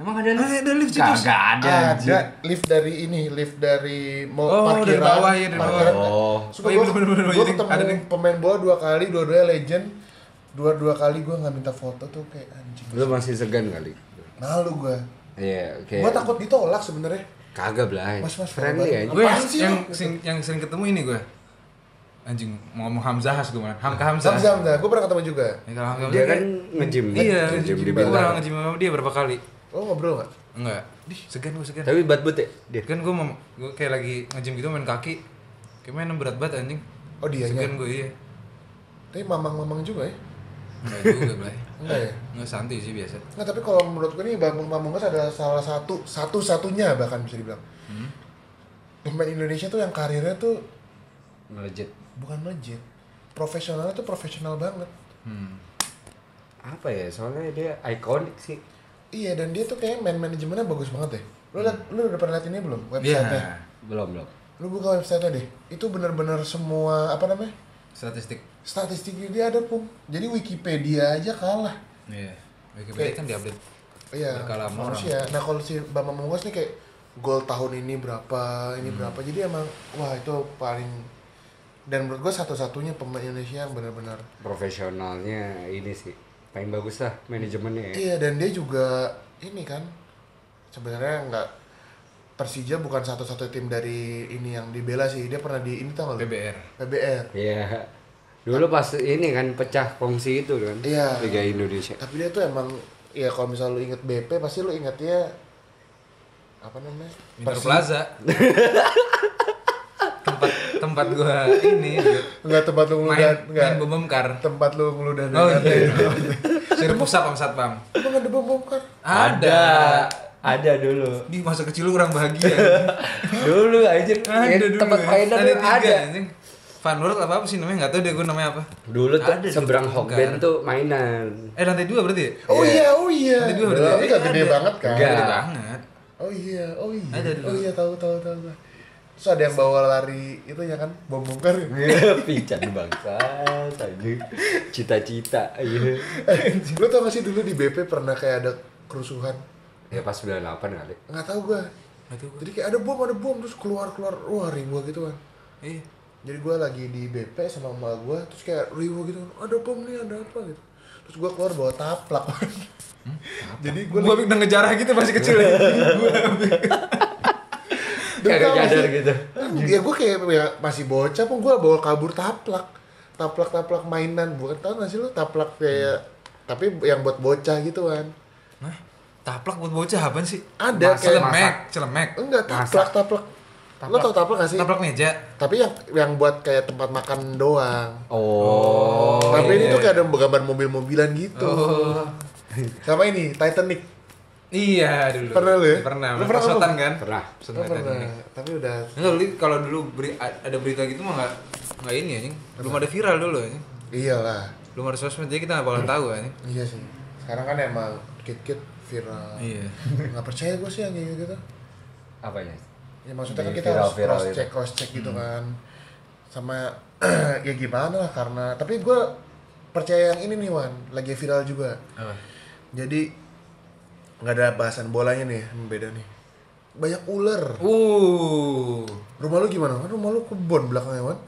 Emang ada
Ah, ada lift Citos.
Kagak ada. anjing.
ada lift dari ini lift dari mau
Oh, dari
parkiran
bawah ya, dari
parkiran.
bawah. Oh.
Suka
Oh, iya,
gua-
bener, bener,
gua
bener.
ketemu
Ada nih.
pemain bola dua kali dua-duanya legend dua-dua kali gua nggak minta foto tuh kayak anjing
Ah. Lu masih segan kali.
malu gua
Iya, oke.
gua takut ditolak sebenarnya
Kagak lah.
Mas, mas, mas.
friendly aja.
Gue yang,
Apaan sih
yang,
lu?
sing- yang sering ketemu ini gue. Anjing mau ngomong Hamzahas gue malah. Hamka Hamzah.
Hamzah Hamzah gua pernah ketemu juga
Ya, kalau Hamka
Dia
Hamzah
kan
kayak-
nge-gym kan?
Iya,
Nge-gym di
nge-gym. Gue
Bintaro.
pernah nge-gym sama dia berapa kali.
lo ngobrol nggak
Enggak. Dih, segan gue segan.
Tapi bad but ya dia.
Kan gue mau gue kayak lagi nge-gym gitu main kaki. Kayak main berat banget anjing.
oh dia nya
Segan gue iya.
tapi mamang mamang juga ya
Enggak juga, Blay.
enggak ya
Enggak santai sih biasa.
Nggak, tapi kalau menurut gue nih Bambang Pamungkas adalah salah satu satu-satunya bahkan bisa dibilang pemain Indonesia tuh yang karirnya tuh
Ngelejit.
bukan melejit profesionalnya tuh profesional banget
Hmm.
Apa ya? Soalnya dia ikonik sih.
Iya dan dia tuh kayak man manajemennya bagus banget deh. Lu liat, lu udah pernah liat ini belum
Iya.
website-nya?
Belum, belum.
Lu buka website-nya deh. Itu bener-bener semua apa namanya?
Statistik.
Statistiknya dia ada pun. Jadi Wikipedia aja kalah.
Iya. Wikipedia kan diupdate.
Iya.
Berkala sama
Manusia. Nah kalau si Bambang Mungkas nih kayak gol tahun ini berapa,
Hmm.
ini berapa. Jadi emang wah itu paling dan menurut gue satu-satunya pemain Indonesia yang bener-bener
Profesionalnya ini sih. Paling bagus lah manajemennya ya.
Iya dan dia juga ini kan sebenarnya nggak Persija bukan satu-satu tim dari ini yang dibela sih dia pernah di ini tau nggak lu?
PBR.
PBR.
Iya. Dulu pas ini kan pecah kongsi itu kan.
Iya.
Liga Indonesia.
Tapi dia tuh emang ya kalau misalnya lu inget BP pasti lu ingetnya apa namanya?
Inter
Persi-
Plaza. tempat tempat gua ini
Enggak tempat lu
main
ngeludah
main
enggak
bom bom kar.
tempat lu ngeludah
Oh, iya. Dari pusat sama satpam.
Emang ada bom bongkar?
Ada.
Ah, Ada dulu.
Di masa kecil lu kurang bahagia.
Dulu anjir. Ya, tempat
ya.
mainan
ada.
tuh
tiga,
ada.
anjing. Van World apa apa sih namanya? Gak tau deh gue namanya apa.
Dulu tuh
Ada di
seberang
tempat
Hokben
bongkar.
tuh mainan.
Eh lantai dua berarti ya?
Oh iya, oh iya.
Ada dua
Tapi
berarti.
nggak gede banget kan?
Nggak.
Gede banget.
Oh iya, oh iya.
Ada dulu.
Oh iya, tahu tahu tahu. tahu. Terus ada yang bawa lari itu ya kan bom bongkar. ya?
Pican bangsa, anjir. Cita-cita. Iya.
Eh, lu tau gak sih dulu di BP pernah kayak ada kerusuhan?
Ya pas 98 kali.
Nggak tahu gua. Jadi kayak ada bom, ada bom terus keluar keluar wah ribu gitu kan.
Iya.
Jadi gua lagi di BP sama emak gua terus kayak ribu gitu kan. Ada bom nih, ada apa gitu. Terus gua keluar bawa taplak. Jadi
Gue lagi udah ngejarah gitu masih kecil ya.
Kagak nyadar gitu.
Ya gue kayak ya, masih bocah pun gue bawa kabur taplak. Taplak-taplak mainan, bukan tau gak sih lu taplak kayak tapi yang buat bocah gitu kan.
Nah, taplak buat bocah apaan sih?
Ada
Masak,
kayak
celemek, celemek.
enggak taplak-taplak. Lo tau taplak gak sih?
Taplak meja.
Tapi yang yang buat kayak tempat makan doang.
Oh.
iya,
tapi ini tuh kayak ada gambar mobil-mobilan gitu. Sama ini Titanic.
Iya dulu.
Pernah lu ya?
Pernah.
Lu pernah
Pesotan
apa?
kan?
Pernah.
Pesotan
Oh, pernah,
Titanic.
tapi udah
Enggak, lu kalau dulu beri- a- ada berita gitu mah nggak nggak ini anjing. Belum ada viral dulu anjing.
iyalah.
Belum ada sosmed jadi kita nggak bakalan tahu anjing.
Iya sih. Sekarang kan emang kit-kit viral.
Iya.
nggak percaya gue sih yang kayak gitu
Apanya?
ya maksudnya kan
Di
kita
viral-
harus
viral
cross
gitu.
check cross check gitu
Hmm.
kan sama ya gimana lah karena tapi gue percaya yang ini nih Wan lagi viral juga
Apa?
jadi nggak ada bahasan bolanya nih yang beda nih banyak ular
Uh.
rumah lu gimana Wan? rumah lu kebon belakangnya Wan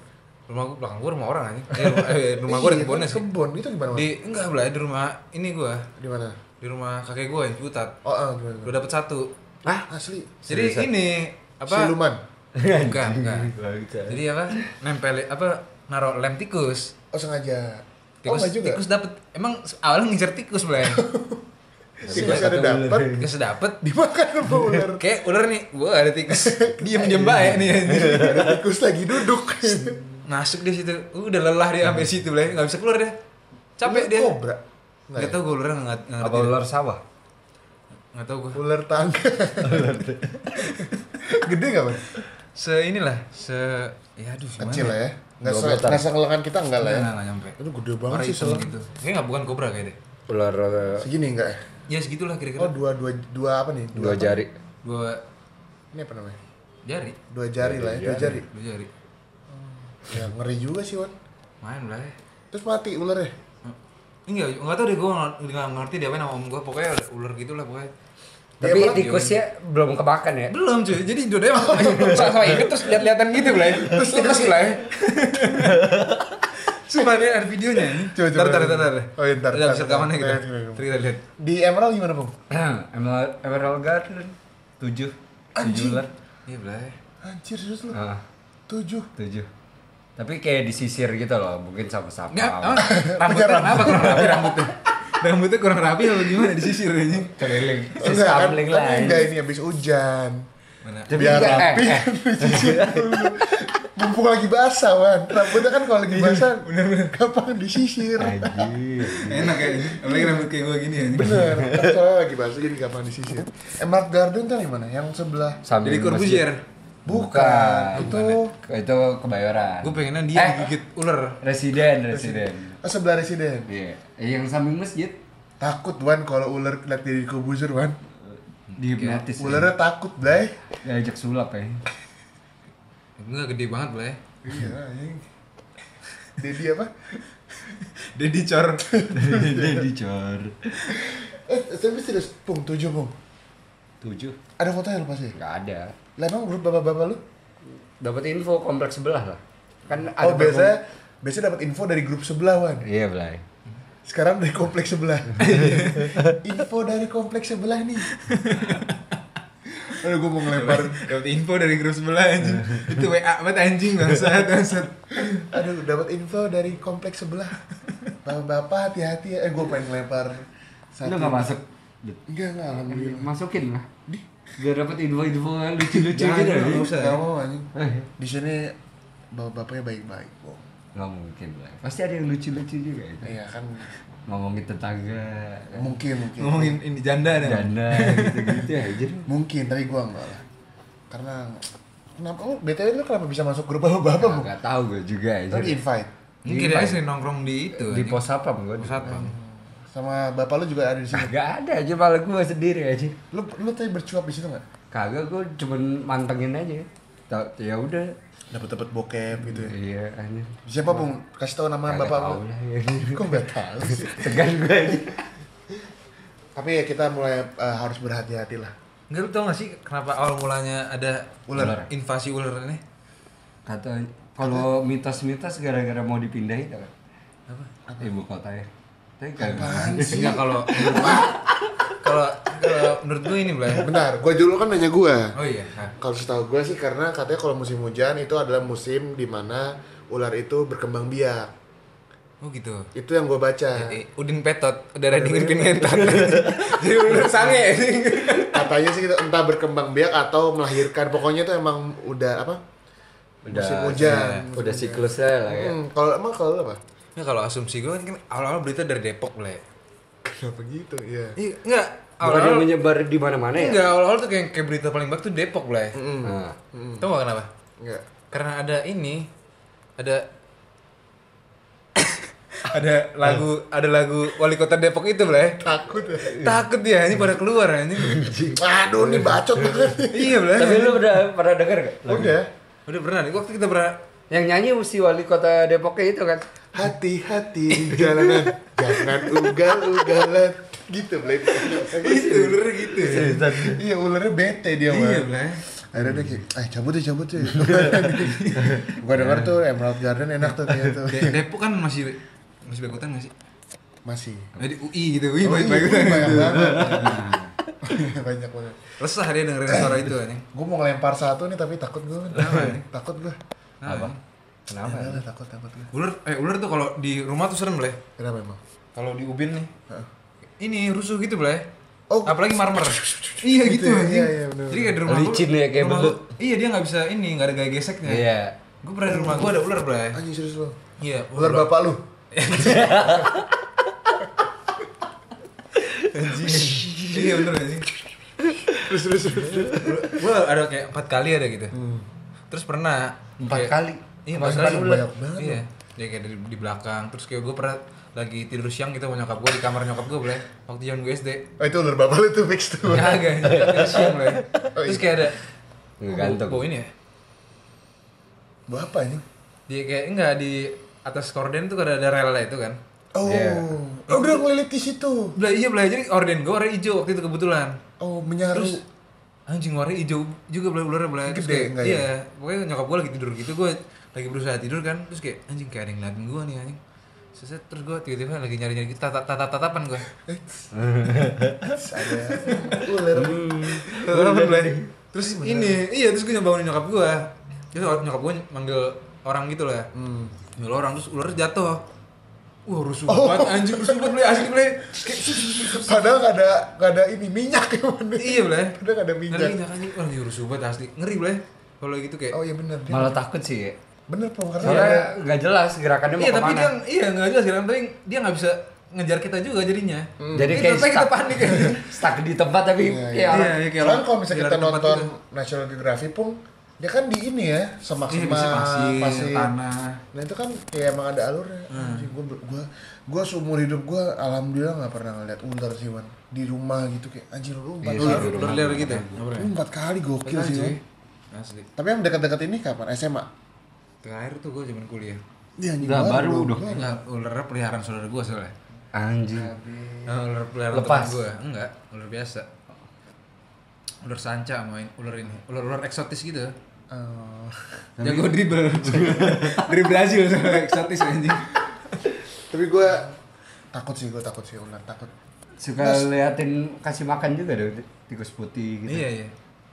Rumah gua belakang gua rumah orang anjing. Eh, rumah, eh, rumah gua ada
Iya,
kebunnya
kan,
sih.
kebon itu gimana Wan?
Di enggak lah di rumah ini gua.
di mana
Di rumah kakek gua yang putat.
oh ah, gimana
Udah dapet satu.
Hah?
asli
Jadi ini apa?
siluman
Bukan, bukan. Jadi apa? Nempel apa naruh lem tikus.
oh sengaja oh
Tikus,
nggak juga
tikus dapet. Emang awalnya ngincer tikus mulai.
tikus ada dapat
tikus dapet.
dimakan sama ular
Kayak ular nih, gua ada tikus. Diem diem baik
Iya.
nih. anjing.
Ada tikus lagi duduk
Masuk dia situ. Uh, Udah lelah dia sampai situ mulai. Gak bisa keluar dia. Capek
Ular
dia.
kobra Nggak
Gak tau gue ular nggak nggak
Apa
ngerti.
ular sawah?
Gak tau gue.
ular tangga gede nggak Bang?
Se inilah, se ya aduh gimana?
kecil lah ya nggak
Dua
se
meter.
nggak senglengan kita enggak lah
Nggak,
ya
nggak, nggak nyampe.
itu gede banget
Warna
sih
hitam
selang
gitu. Kayaknya nggak bukan kobra kayak deh.
Ular eh,
segini enggak ya
Ya segitulah
oh
kira-kira.
dua dua dua apa nih dua,
dua jari.
Dua
ini apa namanya
jari,
dua jari lah ya dua jari
dua jari.
ya ngeri juga sih Wan
Main lah ya. Hmm.
terus mati ularnya
Enggak, enggak tau deh gue nggak ngerti dia apa nama om gue Pokoknya ada ular gitu lah pokoknya
Tapi
malah
tikusnya belum kemakan ya.
Belum cuy, jadi jodohnya emang sama-sama ikut terus lihat-lihatan gitu lah ya. Terus terus lah ya Sumpah ini ada videonya ini
Coba, coba.
Ntar, ntar, ntar
Oh, iya,
Udah
ntar, ntar,
bisa
ntar.
rekamannya kita
Iya, coba, coba.
Ntar kita lihat
di Emerald gimana bang
Emerald, Emerald Garden tujuh tujuh ular
Iya belai
anjir serius lu
Ah,
tujuh
tujuh tapi kayak disisir gitu loh mungkin sama sama
Enggak, emang rambutnya kenapa kurang rapi rambutnya Rambutnya kurang rapi apa gimana disisir aja
keliling
enggak kan
Siskamling lah
tapi enggak ini habis hujan
Mana?
biar rapi mumpung lagi basah wan rambutnya kan kalau lagi basah gampang disisir
Enak ya, ini. apalagi rambut kayak gue gini ya ini.
bener kan soalnya lagi basah jadi gampang disisir Emerald Garden tuh yang mana yang sebelah
Jadi Corbusier
bukan, itu
itu kebayoran
Gue pengennya dia
Eh.
digigit ular
residen residen
oh, sebelah residen
iya Eh, yang samping masjid
takut wan kalau ular liat diri kubuzur wan
dihipnotis ya.
ularnya takut blay
diajak sulap ya
Enggak gede banget belai
iya anjing. Dedi apa
Deddy Cor
jadi dicor
eh tapi serius pung tujuh pung
tujuh
ada fotonya lu pasti
nggak ada
lah emang grup bapak-bapak lu
Dapat info kompleks sebelah lah. Kan ada
oh biasanya biasanya dapat info dari grup sebelah wan
iya belai
Sekarang dari kompleks sebelah. Info dari kompleks sebelah nih. Aduh gue mau ngelempar.
Dapat info dari grup sebelah anjing. Itu WA banget anjing bangsat bangsat.
Aduh dapat info dari kompleks sebelah. Bapak-bapak hati-hati ya. Eh gue pengen ngelempar.
lu nggak masuk
Enggak enggak alhamdulillah.
masukin lah biar dapat info-info lucu-lucu
Jangan,
gitu
jangan,
ya.
nggak usah.
Gak mau anjing. Di sini bapak-bapaknya baik-baik. Bong.
ya, Eh.
nggak mungkin lah pasti ada yang lucu-lucu juga itu
Iya kan
ngomongin tetangga
mungkin mungkin
ngomongin ini janda ada
dana gitu-gitu
ya,
aja
mungkin tapi gua enggak lah karena kenapa oh, lu BTW lu kenapa bisa masuk grup bapak-bapak Bu?
nggak tahu gue juga
Lu di
aja
invite
Mungkin dia sering nongkrong di itu.
ya, di pos apa gue
pusat bang.
sama bapak lu juga ada di sini.
Gak ada aja malah gue sendiri aja
Lu lu tadi bercuap di situ enggak?
Kagak gue cuman mantengin aja Tau- Ya udah
Dapat-dapat bokep gitu ya.
Iya anjir
Siapa pun kasih tahu nama bapak lu.
tahu lah, ya.
Kok enggak tahu sih?
Tegan gue aja
Tapi ya kita mulai eh, harus berhati-hati lah.
Enggak lu tau gak sih kenapa awal mulanya ada
Ular.
invasi ular ini?
kata kalau mitos-mitos gara-gara mau dipindahin apa apa ibu kota ya tapi kagak
Enggak kalau menurut gua- kalau kalau menurut gue ini Blay.
Bentar, gua dulu kan nanya gua.
Oh iya. Hah.
Kalau setahu gue sih karena katanya kalau musim hujan itu adalah musim di mana ular itu berkembang biak.
Oh gitu.
Itu yang gue baca.
Eh, Udin Petot, udah Rading Udin Petot. Jadi ular sange. anjing.
Katanya sih gitu, entah berkembang biak atau melahirkan. Pokoknya itu emang udah apa? musim hujan.
Udah siklusnya lah ya
Hmm, kalau emang kalau lu apa?
Nah kalau asumsi gue kan awal-awal berita dari Depok Blay.
Kenapa gitu? Iya.
Iya, enggak.
Bukan yang
Awal-awal
menyebar di mana-mana ya
enggak awal-awal tuh kayak, kayak berita paling bagus tuh Depok Blay.
Nah,
Tau gak kenapa?
Enggak.
Karena ada ini, ada ada lagu ada lagu wali kota Depok itu Blay.
Takut. ya.
Takut dia ini pada keluar anjing.
Aduh, ini bacot banget.
iya Blay.
Tapi lu udah pernah denger gak?
Udah.
Udah pernah nih, waktu kita pernah
Yang nyanyi si wali kota Depoknya itu kan
Hati-hati di jalanan. Jangan ugal-ugalan. Gitu, Blay.
Itu ular gitu ya
iya, ularnya bete dia,
Iya
Bang.
Blay
akhirnya dia kayak, eh cabut deh, cabut deh gua denger tuh Emerald Garden enak tuh gitu. ternyata
De- Depok kan masih masih bagutan gak sih?
masih
Jadi UI gitu, UI
Oh, iya,
baik-baik
banyak banget banyak banget
Resah dia dengerin suara itu anjing
gua mau ngelempar satu nih tapi takut gua takut gua
Apa?
kenapa ya, takut takut gua
Ular, eh ular tuh kalau di rumah tuh serem Blay
kenapa emang
Kalau di ubin nih Ini rusuh gitu Blay
Oh.
Apalagi marmer Iya gitu
ya,
anjing
iya, iya, bener.
Jadi kayak di rumah gua-
Licin ya, kayak
rumah
belut.
gua- Iya dia gak bisa ini, gak ada gaya geseknya
Iya
Gue pernah di rumah gue ada ular Blay
anjing serius lo
Iya
ular bapak lu
anjing Iya bener anjing
terus terus terus Hmm.
gue ada kayak empat kali ada gitu terus pernah
Empat
kayak-
kali?
iya
Empat
empat
kali
kali
udah banyak banget
iya dia kayak di, di belakang terus kayak gue pernah lagi tidur siang gitu sama nyokap gue di kamar nyokap gue boleh waktu zaman gue SD
oh itu ular bapak lu tuh fix tuh
kagak tidur siang boleh ya. terus kayak ada
Ngegantung.
bau, bau ini ya
bapak ini
dia kayak enggak di atas korden tuh ada ada rel itu kan
oh oh udah ngelilit di situ
Belah iya belah jadi orden gue warna hijau waktu itu kebetulan
oh menyaru
terus anjing warna hijau juga belah ularnya belah Terus
Gede
kayak-
nggak ya?
iya pokoknya nyokap gue lagi tidur gitu gue lagi berusaha tidur kan terus kayak anjing kayak ada yang ngeliatin gue nih anjing Seset, terus gue tiba-tiba lagi nyari-nyari gitu, tatap tatap tatapan gue
Terus ada ular
tatapan belah terus ini iya terus gue nyobain nyokap gue terus or- nyokap gue manggil orang gitu lah manggil orang terus ular jatuh wah rusuh banget anjing rusuh banget Blay. asli Blay. Kayak
padahal gak ada gak ada ini minyak ya bener.
iya Blay.
padahal gak ada
ngeri
minyak
minyak anjing wah ini rusuh banget asli ngeri Blay. kalau gitu kayak
Oh iya bener dia.
Malah takut sih ya
Bener po karena ada
Soalnya nggak jelas gerakannya mau
Iya tapi
kemana
dia iya nggak jelas kan tapi dia nggak bisa ngejar kita juga jadinya.
Jadi
Itu
kayak
sampai kita
stuck.
panik.
Stuck di tempat tapi
Iya,
ya orang-
iya, kayak
Soalnya
orang
kalau misalnya
di
kita
luar tempat
nonton
gitu.
National Geographic pun Dia kan di ini ya
Iya,
Semaksimal
bisa pasir, tanah. Hmm.
Nah itu kan kayak emang ada alurnya Anjing, gua, gua, gua seumur hidup gua Alhamdulillah gak pernah ngeliat ular sih Wan Di rumah gitu kayak anjir lu empat
Ular
kali
ular liar gitu. ya?
Lu empat kali gokil
Pernah
sih Wan.
cuy. Asli.
Tapi yang dekat-dekat ini kapan? SMA?
Terakhir tuh gue zaman kuliah.
Iya anjing
Udah, baru dong.
Gue nggak ular peliharaan saudara gue soalnya.
anjing
Nah, ular peliharaan
Hmm. Lepas.
gue enggak ular biasa. Ular sanca main ular ini ular ular eksotis gitu.
Eh,
Jago dribble. Dari Brazil soalnya eksotis anjing.
Tapi gua takut sih, gua takut sih ular takut
suka liatin kasih makan juga deh tikus putih gitu
Iya iya.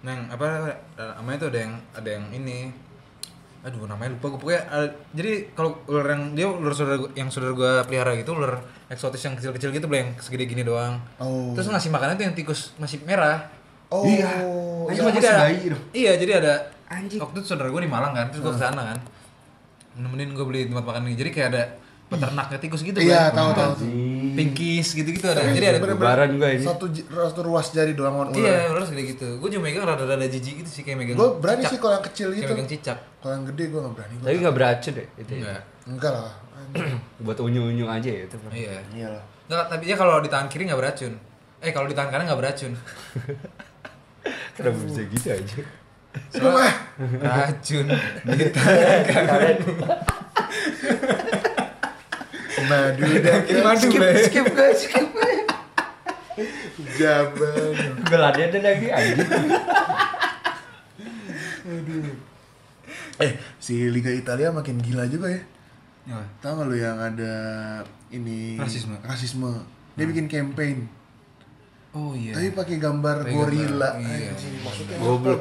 Neng apa namanya tuh ada yang ada yang ini. Aduh namanya lupa gue pokoknya ada- jadi kalau ular yang dia ular saudara gua- yang saudara gue pelihara gitu ular eksotis yang kecil-kecil gitu beli yang segede gini doang.
Oh.
Terus ngasih makannya tuh yang tikus masih merah.
Oh
Iya.
Terus
Iya,
gua
masih bayi dong.
Nah, Iya, jadi ada Waktu itu saudara gue di Malang kan, terus gue ke sana kan. Nemenin gue beli tempat makan ini. Jadi kayak ada peternaknya tikus gitu kan.
Iya, tahu tahu.
Pinkis gitu-gitu ada. Jadi ada
Bener-bener
Barang gua ini.
Satu, j- satu ruas jari doang mau ular.
Iya, ular segede gitu. Gue cuma megang rada-rada jijik gitu sih kayak megang.
Gue berani
cicak.
sih kalau yang kecil
Kayak
gitu.
megang cicak. Iya.
Kalau yang gede gue nggak berani. Gua
Tapi nggak beracun deh itu. ya.
Enggak.
Enggak lah. anjing.
Buat unyu-unyu aja ya itu.
Iya.
Iya lah.
Enggak, tapi ya kalau di tangan kiri nggak beracun. Eh, kalau di tangan kanan nggak beracun.
Kenapa bisa gitu aja?
Wah,
Racun.
madu dan
Madu,
Skip guys, skip.
jaban.
Geladnya ada lagi anjing.
Eh, si Liga Italia makin gila juga ya.
Apa?
Tahu nggak lu yang ada ini
Iya. Rasisme.
Rasisme. Dia bikin campaign.
Oh iya.
Tapi pakai gambar
Pakai
gorila.
gambar, iya.
Anjing, maksudnya
Goblok.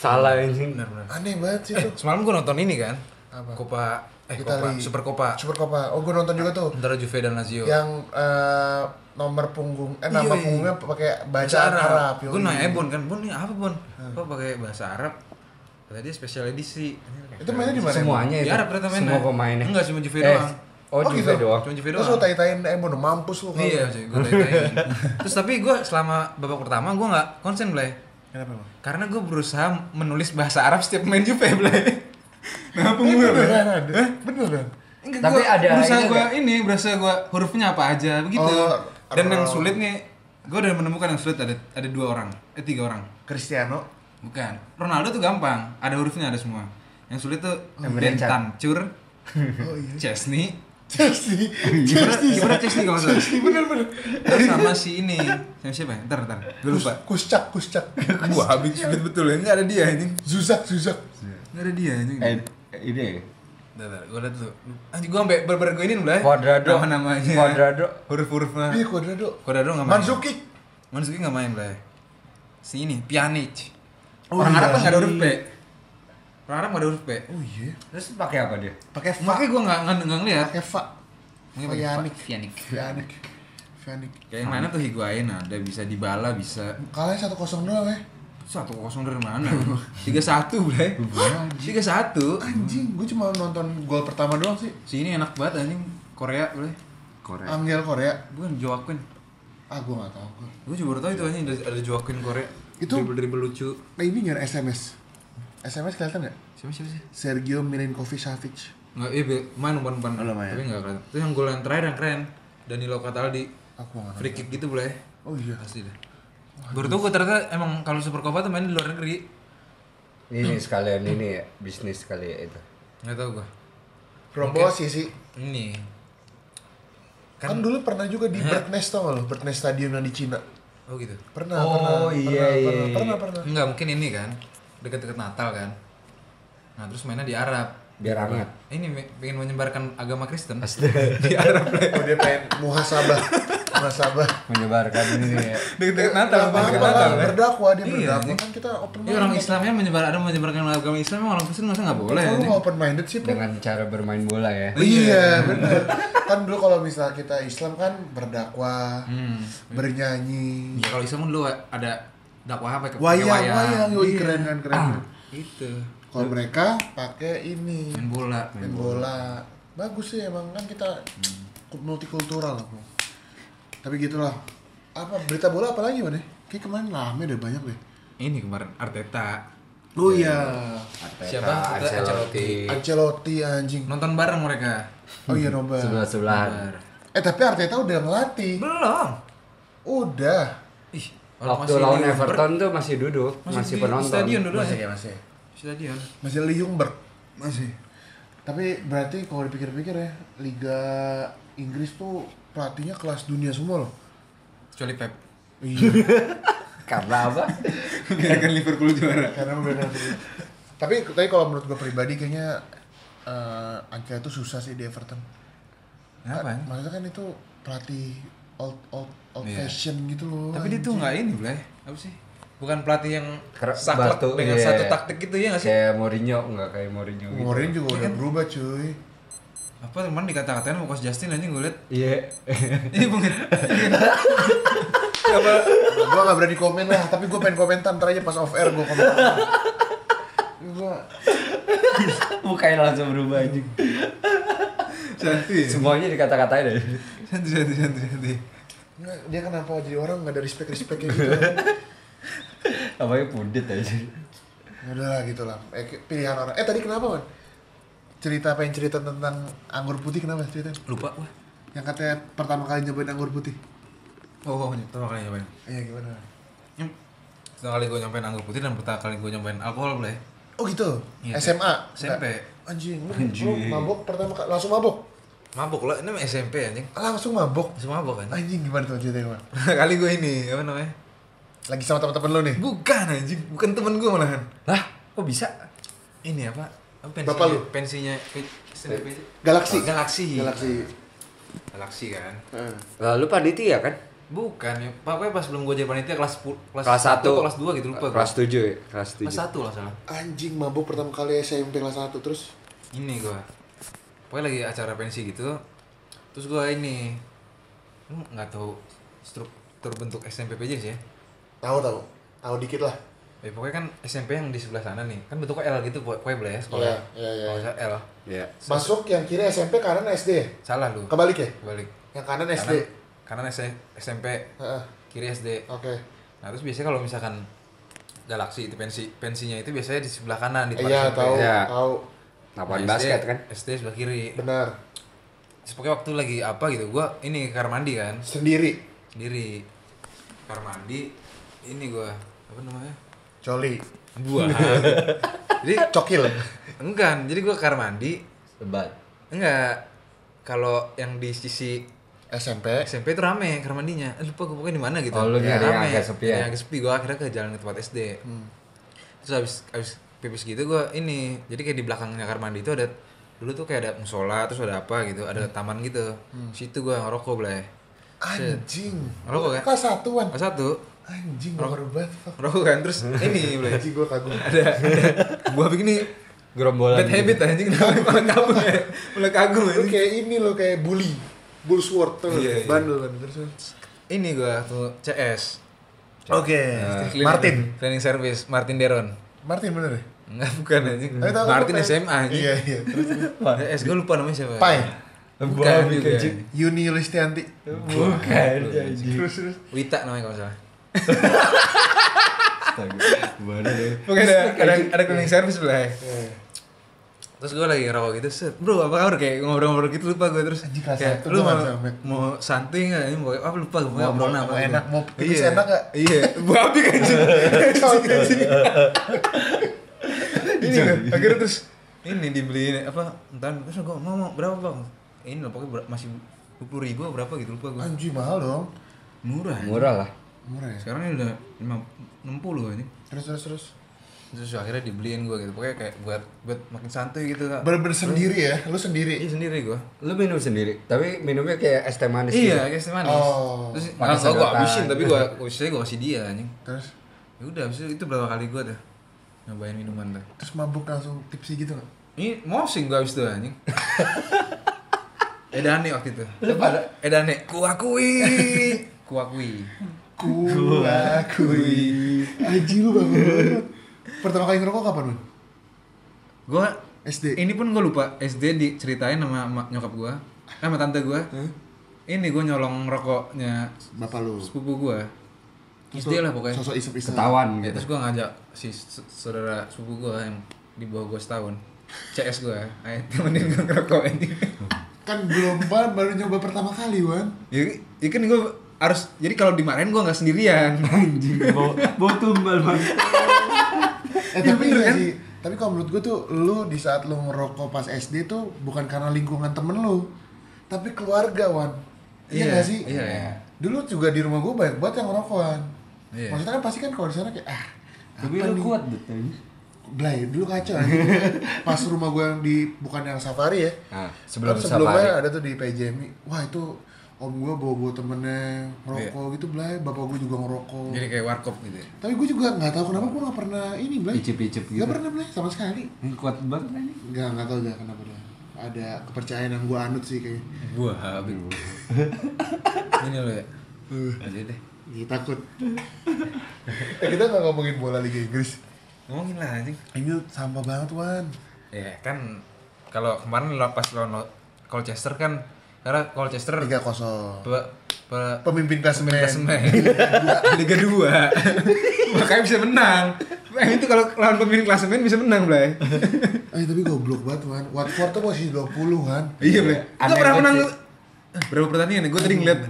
Salah anjing.
Benar-benar.
aneh banget sih itu.
Semalam gue nonton ini kan.
Apa?
Copa eh Copa
Itali.
Super Copa
Super Copa. Oh, gue nonton juga tuh.
antara Juve dan Lazio.
Yang eh, nomor punggung eh nama
Iya, iya.
punggungnya pakai
bahasa
bacaan
Arab.
Arab.
Gue
yoi.
nanya Bon kan, Bon ini apa Bon? Kok pakai bahasa Arab? Kata dia special edisi.
Itu mainnya di mana?
Semuanya
Di
itu.
Arab ternyata mainnya.
Semua pemainnya.
Enggak, cuma Juve
Eh,
doang.
Oh,
Oh,
Juve
gitu?
doang.
Cuma Juve
Emon?
doang.
Terus lo tai-taiin Emon, mampus lu kalau.
Iya, gue tanya Terus tapi gue selama babak pertama gue nggak konsen Blay.
Kenapa emang?
Karena gue berusaha menulis bahasa Arab setiap main Juve Blay. Nah,
Bener
punggung Blay.
ada. Beneran.
Enggak,
Tapi
gua
ada
berusaha
ini
gue ini berusaha gue hurufnya apa aja begitu.
Oh,
Dan yang
Arab.
sulit nih, gue udah menemukan yang sulit ada ada dua orang, eh tiga orang.
Cristiano.
Bukan. Ronaldo tuh gampang, ada hurufnya ada semua. Yang sulit tuh Ben
Emre Can.
Tancur,
Oh iya.
Chesney,
Chelsea.
gimana
Chelsea.
gimana Chesney kalau nggak salah.
Chelsea bener-bener.
Terus sama si ini, sama siapa? ya? Ntar ntar, gue lupa.
Kuscak, kuscak.
Wah, habis sulit betul ya, nggak ada dia ini,
Zuzak, Zuzak.
nggak ada dia ini.
Eh, ini ya?
Ntar ntar, gue liat dulu. Anjing gue sampai berber gue ini mulai.
Cuadrado.
Nama namanya.
Cuadrado.
Huruf-hurufnya.
Iya, Cuadrado.
Cuadrado nggak main.
Manzuki.
Manzuki nggak main lah. Si ini Pjanic.
Oh,
Orang
iya.
Arab kan nggak ada huruf P. Orang Arab nggak ada huruf P.
Oh iya.
Terus pakai apa dia?
Pakai Fa.
Makanya gue nggak nggak nggak ngeliat.
Pakai Fa.
Mungkin pakai
Fayanik.
Fa- Fianik.
Fayanik. Fayanik.
Kayak yang mana tuh Higuain ada, bisa dibala, bisa
Kalahnya satu kosong doang ya.
satu kosong dari mana? Tiga satu bre. Tiga satu.
Anjing, gue cuma nonton gol pertama doang sih.
Si ini enak banget anjing Korea bre.
Korea.
Angel Korea.
Bukan Jo Kwon.
Ah, gue gak tau. Gua.
Gue juga baru tau itu anjing ada, ada Jo Kwon Korea.
Itu-
dribble dribble lucu.
Nah, ini nggak ada SMS. SMS kelihatan nggak?
Siapa siapa sih?
Sergio Milinkovic Savic.
Nggak, iya, Be. main umpan umpan.
Oh, lumayan.
Tapi nggak kelihatan. Terus yang gol yang terakhir yang keren. Danilo Cataldi
Aku nggak ngerti.
free kick gitu boleh
Oh iya.
pasti deh baru tuh gue ternyata emang kalau super copa tuh main di luar negeri
Ini sekalian ini ya, bisnis kali ya itu.
nggak tahu gue
Rombosi sih.
ini
Kan, dulu pernah juga di Bird Nest tau nggak lo? Bird Nest Stadium yang di Cina.
oh gitu
Pernah,
Oh,
pernah, pernah,
iya, iya,
pernah,
iya.
pernah, pernah.
nggak mungkin ini kan deket-deket Natal kan nah terus mainnya di Arab Iya.
Biar hangat.
ini me- pengen menyebarkan agama Kristen di Arab deh
Oh, dia pengen muhasabah, muhasabah.
Menyebarkan ini ya.
deket-deket Natal
apa
deket
apa
Natal
lah,
kan
berdakwah dia
Iya,
berdakwah
iya.
kan kita open
Iya,
minded.
orang Islamnya menyebar ada menyebarkan agama Islam emang orang Kristen masa nggak boleh
Kalau
anjing?
mau open minded sih, Pur?
Dengan cara bermain bola ya.
Iya, benar. kan dulu kalau misalnya kita Islam kan berdakwah, bernyanyi,
ya kalau Islam kan dulu ada dakwah apa kayak
wayang, wayang, yoi,
Iya.
keren kan keren.
itu
Kalau mereka pakai ini,
Gitu. main bola
main bola. Bagus sih emang kan kita Hmm. multikultural aku. Tapi gitulah. Apa berita bola apa lagi mana? Kayak kemarin rame deh banyak deh.
ini kemarin Arteta
Oh iya.
siapa Arteta Ancelotti
Ancelotti anjing.
nonton bareng mereka
Oh iya Noba.
Sebelah sebelahan.
Eh tapi Arteta udah ngelatih.
belum
Udah.
ih orang
Waktu
masih
lawan
Liverpool.
Everton tuh masih duduk,
masih,
masih
di- di
penonton.
stadion dulu masih,
ya masih.
stadion
Masih Liungberg. Masih. Tapi berarti kalau dipikir-pikir ya, Liga Inggris tuh pelatihnya kelas dunia semua loh.
kecuali Pep
Iya,
Karena apa?
biarkan Liverpool juara
karena benar. tapi tapi kalau menurut gue pribadi kayaknya eh Ancelotti tuh susah sih di Everton.
apa
Maksudnya kan itu pelatih old old old
Iya.
fashion gitu loh.
tapi dia tuh nggak ini boleh apa sih bukan pelatih yang
Kera-
saklek
batu,
dengan
iya.
satu taktik gitu ya nggak sih
Kayak Mourinho enggak kayak Mourinho gitu.
Mourinho juga
Iya
udah
kan?
berubah cuy.
apa teman dikata-katain mau coach Justin aja gue liat
Iya.
ini bukan
gue gak berani komen lah, tapi gue pengen komentar ntar aja pas off air gue komentar. gue
Mukanya langsung berubah aja.
Santi.
Semuanya dikata-katain deh.
Santi, santi, santi, santi.
Nggak, dia kenapa jadi orang nggak ada respect respect kayak gitu
Namanya pundit aja.
ya udahlah gitu lah eh, pilihan orang eh tadi kenapa kan cerita pengen cerita tentang anggur putih kenapa cerita
Lupa wah.
yang katanya pertama kali nyobain anggur putih
Oh, oh, pertama kali nyobain.
iya gimana
Hmm. Pertama kali gue nyobain anggur putih dan pertama kali gue nyobain alkohol boleh.
oh gitu
Iya,
SMA
SMP.
Nggak. anjing lu, lu mabok pertama kali langsung mabok
Mabok lah, ini mah SMP anjing.
langsung mabok
Masih mabok kan?
anjing gimana tuh ceritanya gimana
kali gue ini, apa namanya?
lagi sama teman-teman lu nih
Bukan anjing, bukan temen gue malahan.
Lah, kok bisa?
Ini apa? Apa pensinya?
Bapak lu?
Pensinya, pen- istilah pensi?
Galaksi.
Galaksi.
galaksi
Galaksi kan?
Heeh.
Lah, lu panitia kan?
Bukan, ya. pokoknya pas belum gue jadi panitia kelas 10, kelas, 1
Kelas satu.
atau kelas 2 gitu lupa gua.
Kelas 7 ya? Kelas 7.
Kelas 1 lah salah.
anjing mabok pertama kali SMP kelas 1 terus
Ini gue. Pokoknya lagi acara pensi gitu. Terus gue ini lu nggak tahu struktur bentuk SMPPJ sih ya.
tahu tahu tahu dikit lah
Ya, pokoknya kan SMP yang di sebelah sana nih, kan bentuknya L gitu, pokoknya boleh ya sekolah.
Iya, iya, iya.
Kalau nggak salah L,
Ya.
masuk yang kiri SMP kanan SD ya?
salah lu.
kebalik ya
Kebalik.
yang kanan SD
Kanan, kanan S- SMP,
Heeh.
kiri SD.
oke
Nah terus biasanya kalau misalkan galaksi itu pensi pensinya itu biasanya di sebelah kanan di
Eh, iya
SMP.
tahu
Iya.
tahu
Nah,
Lapangan
SD
basket kan?
SD sebelah kiri.
benar
Terus pokoknya waktu lagi apa gitu, gua ini ke kamar mandi kan
sendiri
sendiri. Kamar mandi ini gua apa namanya?
coli
Gua. jadi
cokil
enggak, jadi gua ke kamar mandi
Lebat.
enggak kalau yang di sisi
SMP
SMP itu rame kamar mandinya. Eh, lupa gue pokoknya di mana gitu.
Oh, lu
Ya,
nyari yang agak sepi ya? Hmm.
Nyari yang agak sepi. Gue akhirnya ke jalan ke tempat SD. Terus habis habis pipis gitu gue ini. Jadi kayak di belakangnya kamar mandi itu ada dulu tuh kayak ada musola terus ada apa gitu, ada
Hmm.
taman gitu. Situ gue ngerokok boleh.
anjing
Ngerokok kan?
kelas satuan
Pas satu
anjing gak berubah fuck
ngerokok kan terus
Hmm.
ini boleh.
anjing gue kagum
Ada buah begini
Gerombolan. gitu.
bad habit anjing namanya malah kagum ya. Malah kagum
lu
anjing.
kayak ini lo kayak bully bullsword tuh
Iya, iya.
bandel kan terus
Ini gue tuh CS.
oke
Eh,
Cleaning- Cleaning service Martin Deron.
Martin bener ya
Enggak bukan anjing.
Tapi tahu kan
Martin
apa ya?
SMA anjing.
iya iya terus
Nah,
Eh,
iya.
gue lupa namanya siapa.
Pai
Bukan juga.
Yuni Listianti
Bukan.
iya,
anjing.
terus terus
Wita namanya kalau nggak salah.
Astaga. Gimana deh?
Pokoknya ada ada, ada cleaning service lah. eh.
Iya.
gitu. Terus gue lagi ngerokok gitu, set, bro apa kabar kayak ngobrol-ngobrol gitu lupa gue terus
Anjing, kelas
kayak,
satu
lu
gua
mau,
nggak sampai.
mau santuy nggak? Ini mau apa lupa gue
Mau-
ngobrol
mau-
apa?
mau
gitu.
enak, mau pipis
Iya.
enak nggak? Iya.
Iya, babi kan anjing. Ini gue, akhirnya terus ini dibeliin apa entar terus gue ngomong berapa bang? Ini loh pokoknya ber- masih dua puluh ribu berapa gitu lupa gue.
anjing mahal dong
Murah. anjing.
Murah lah.
murah ya
Sekarang ini udah lima- 60 ini.
terus terus terus
terus akhirnya dibeliin gue gitu pokoknya kayak buat buat makin santuy gitu kak
bener-bener sendiri ya lu
iya
sendiri
sendiri gue
Lu minum sendiri, tapi minumnya kayak es teh manis
iya
gitu.
kayak manis
Oh.
terus
Pakai
nggak gue
sedotan.
habisin tapi gue habisnya gue kasih dia anjing
terus
ya udah habis itu itu berapa kali gue tuh nyobain minuman tuh
terus mabuk langsung tipsi gitu nggak
ini mosing gue habis itu anjing edane waktu itu
Lu pada
edane kuakui kuakui
Kuakui. Aji lu bangun banget. Pertama kali ngerokok kapan, Bun?
gue
SD.
ini pun gue lupa SD diceritain sama emak- nyokap gue sama tante gue ini gue nyolong rokoknya
Bapak lu.
sepupu gua SD lah pokoknya
Sosok isep-isep.
Ya,
ketahuan gitu.
terus gua ngajak si s- saudara sepupu gua yang di bawah gua setahun CS gua ayo temenin gua ngerokok ini
Kan belum ban baru nyoba pertama kali, Wan.
ya, ya kan gua harus jadi kalau dimarahin gua nggak sendirian
Anjing, bau bau tumbal banget.
Eh, tapi iya
kan?
sih. Tapi kalau menurut gue tuh, lu di saat lu ngerokok pas SD tuh bukan karena lingkungan temen lu, tapi keluarga, Wan. Iya
Iya,
nggak sih? Nah,
iya, iya.
Dulu juga di rumah gue banyak banget yang ngerokok, Wan.
Iya.
Maksudnya kan pasti kan kalau di sana kayak, ah,
Tapi
apa
lu
nih?
kuat betul.
Blay, dulu kacau anjing. Pas rumah gue yang di, bukan yang safari ya
Ah,
Nah, sebelum
Kan
safari.
ada tuh di PJMI Wah itu om gue bawa-bawa temennya ngerokok
Iya.
gitu Blay Bapak gue juga ngerokok
jadi kayak warkop gitu ya.
Tapi gue juga gak tahu kenapa gue gak pernah ini Blay
Icip-icip gitu.
Gak pernah Blay, sama sekali
Ini Kuat banget kan ini.
Gak, gak tau gak kenapa dah Ada kepercayaan yang gue anut sih kayaknya
gua habis ini lo ya
Uh.
jadi deh
Ih, takut eh, Kita gak ngomongin bola Liga Inggris
ngomongin lah anjing
Ini sampah banget Wan
Iya, ya kan kalau kemarin lo pas lawan lo- Colchester kan karena Colchester
tiga kosong
pe- pe-
pemimpin klasemen
klasemen eh, Liga 2 makanya bisa menang Emang itu kalau lawan pemimpin klasemen bisa menang Blay
eh tapi goblok banget man Watford tuh posisi 20 kan
iya Blay
Aneh
nggak pernah
banget
menang
sih.
berapa pertandingan ya gue tadi ngeliat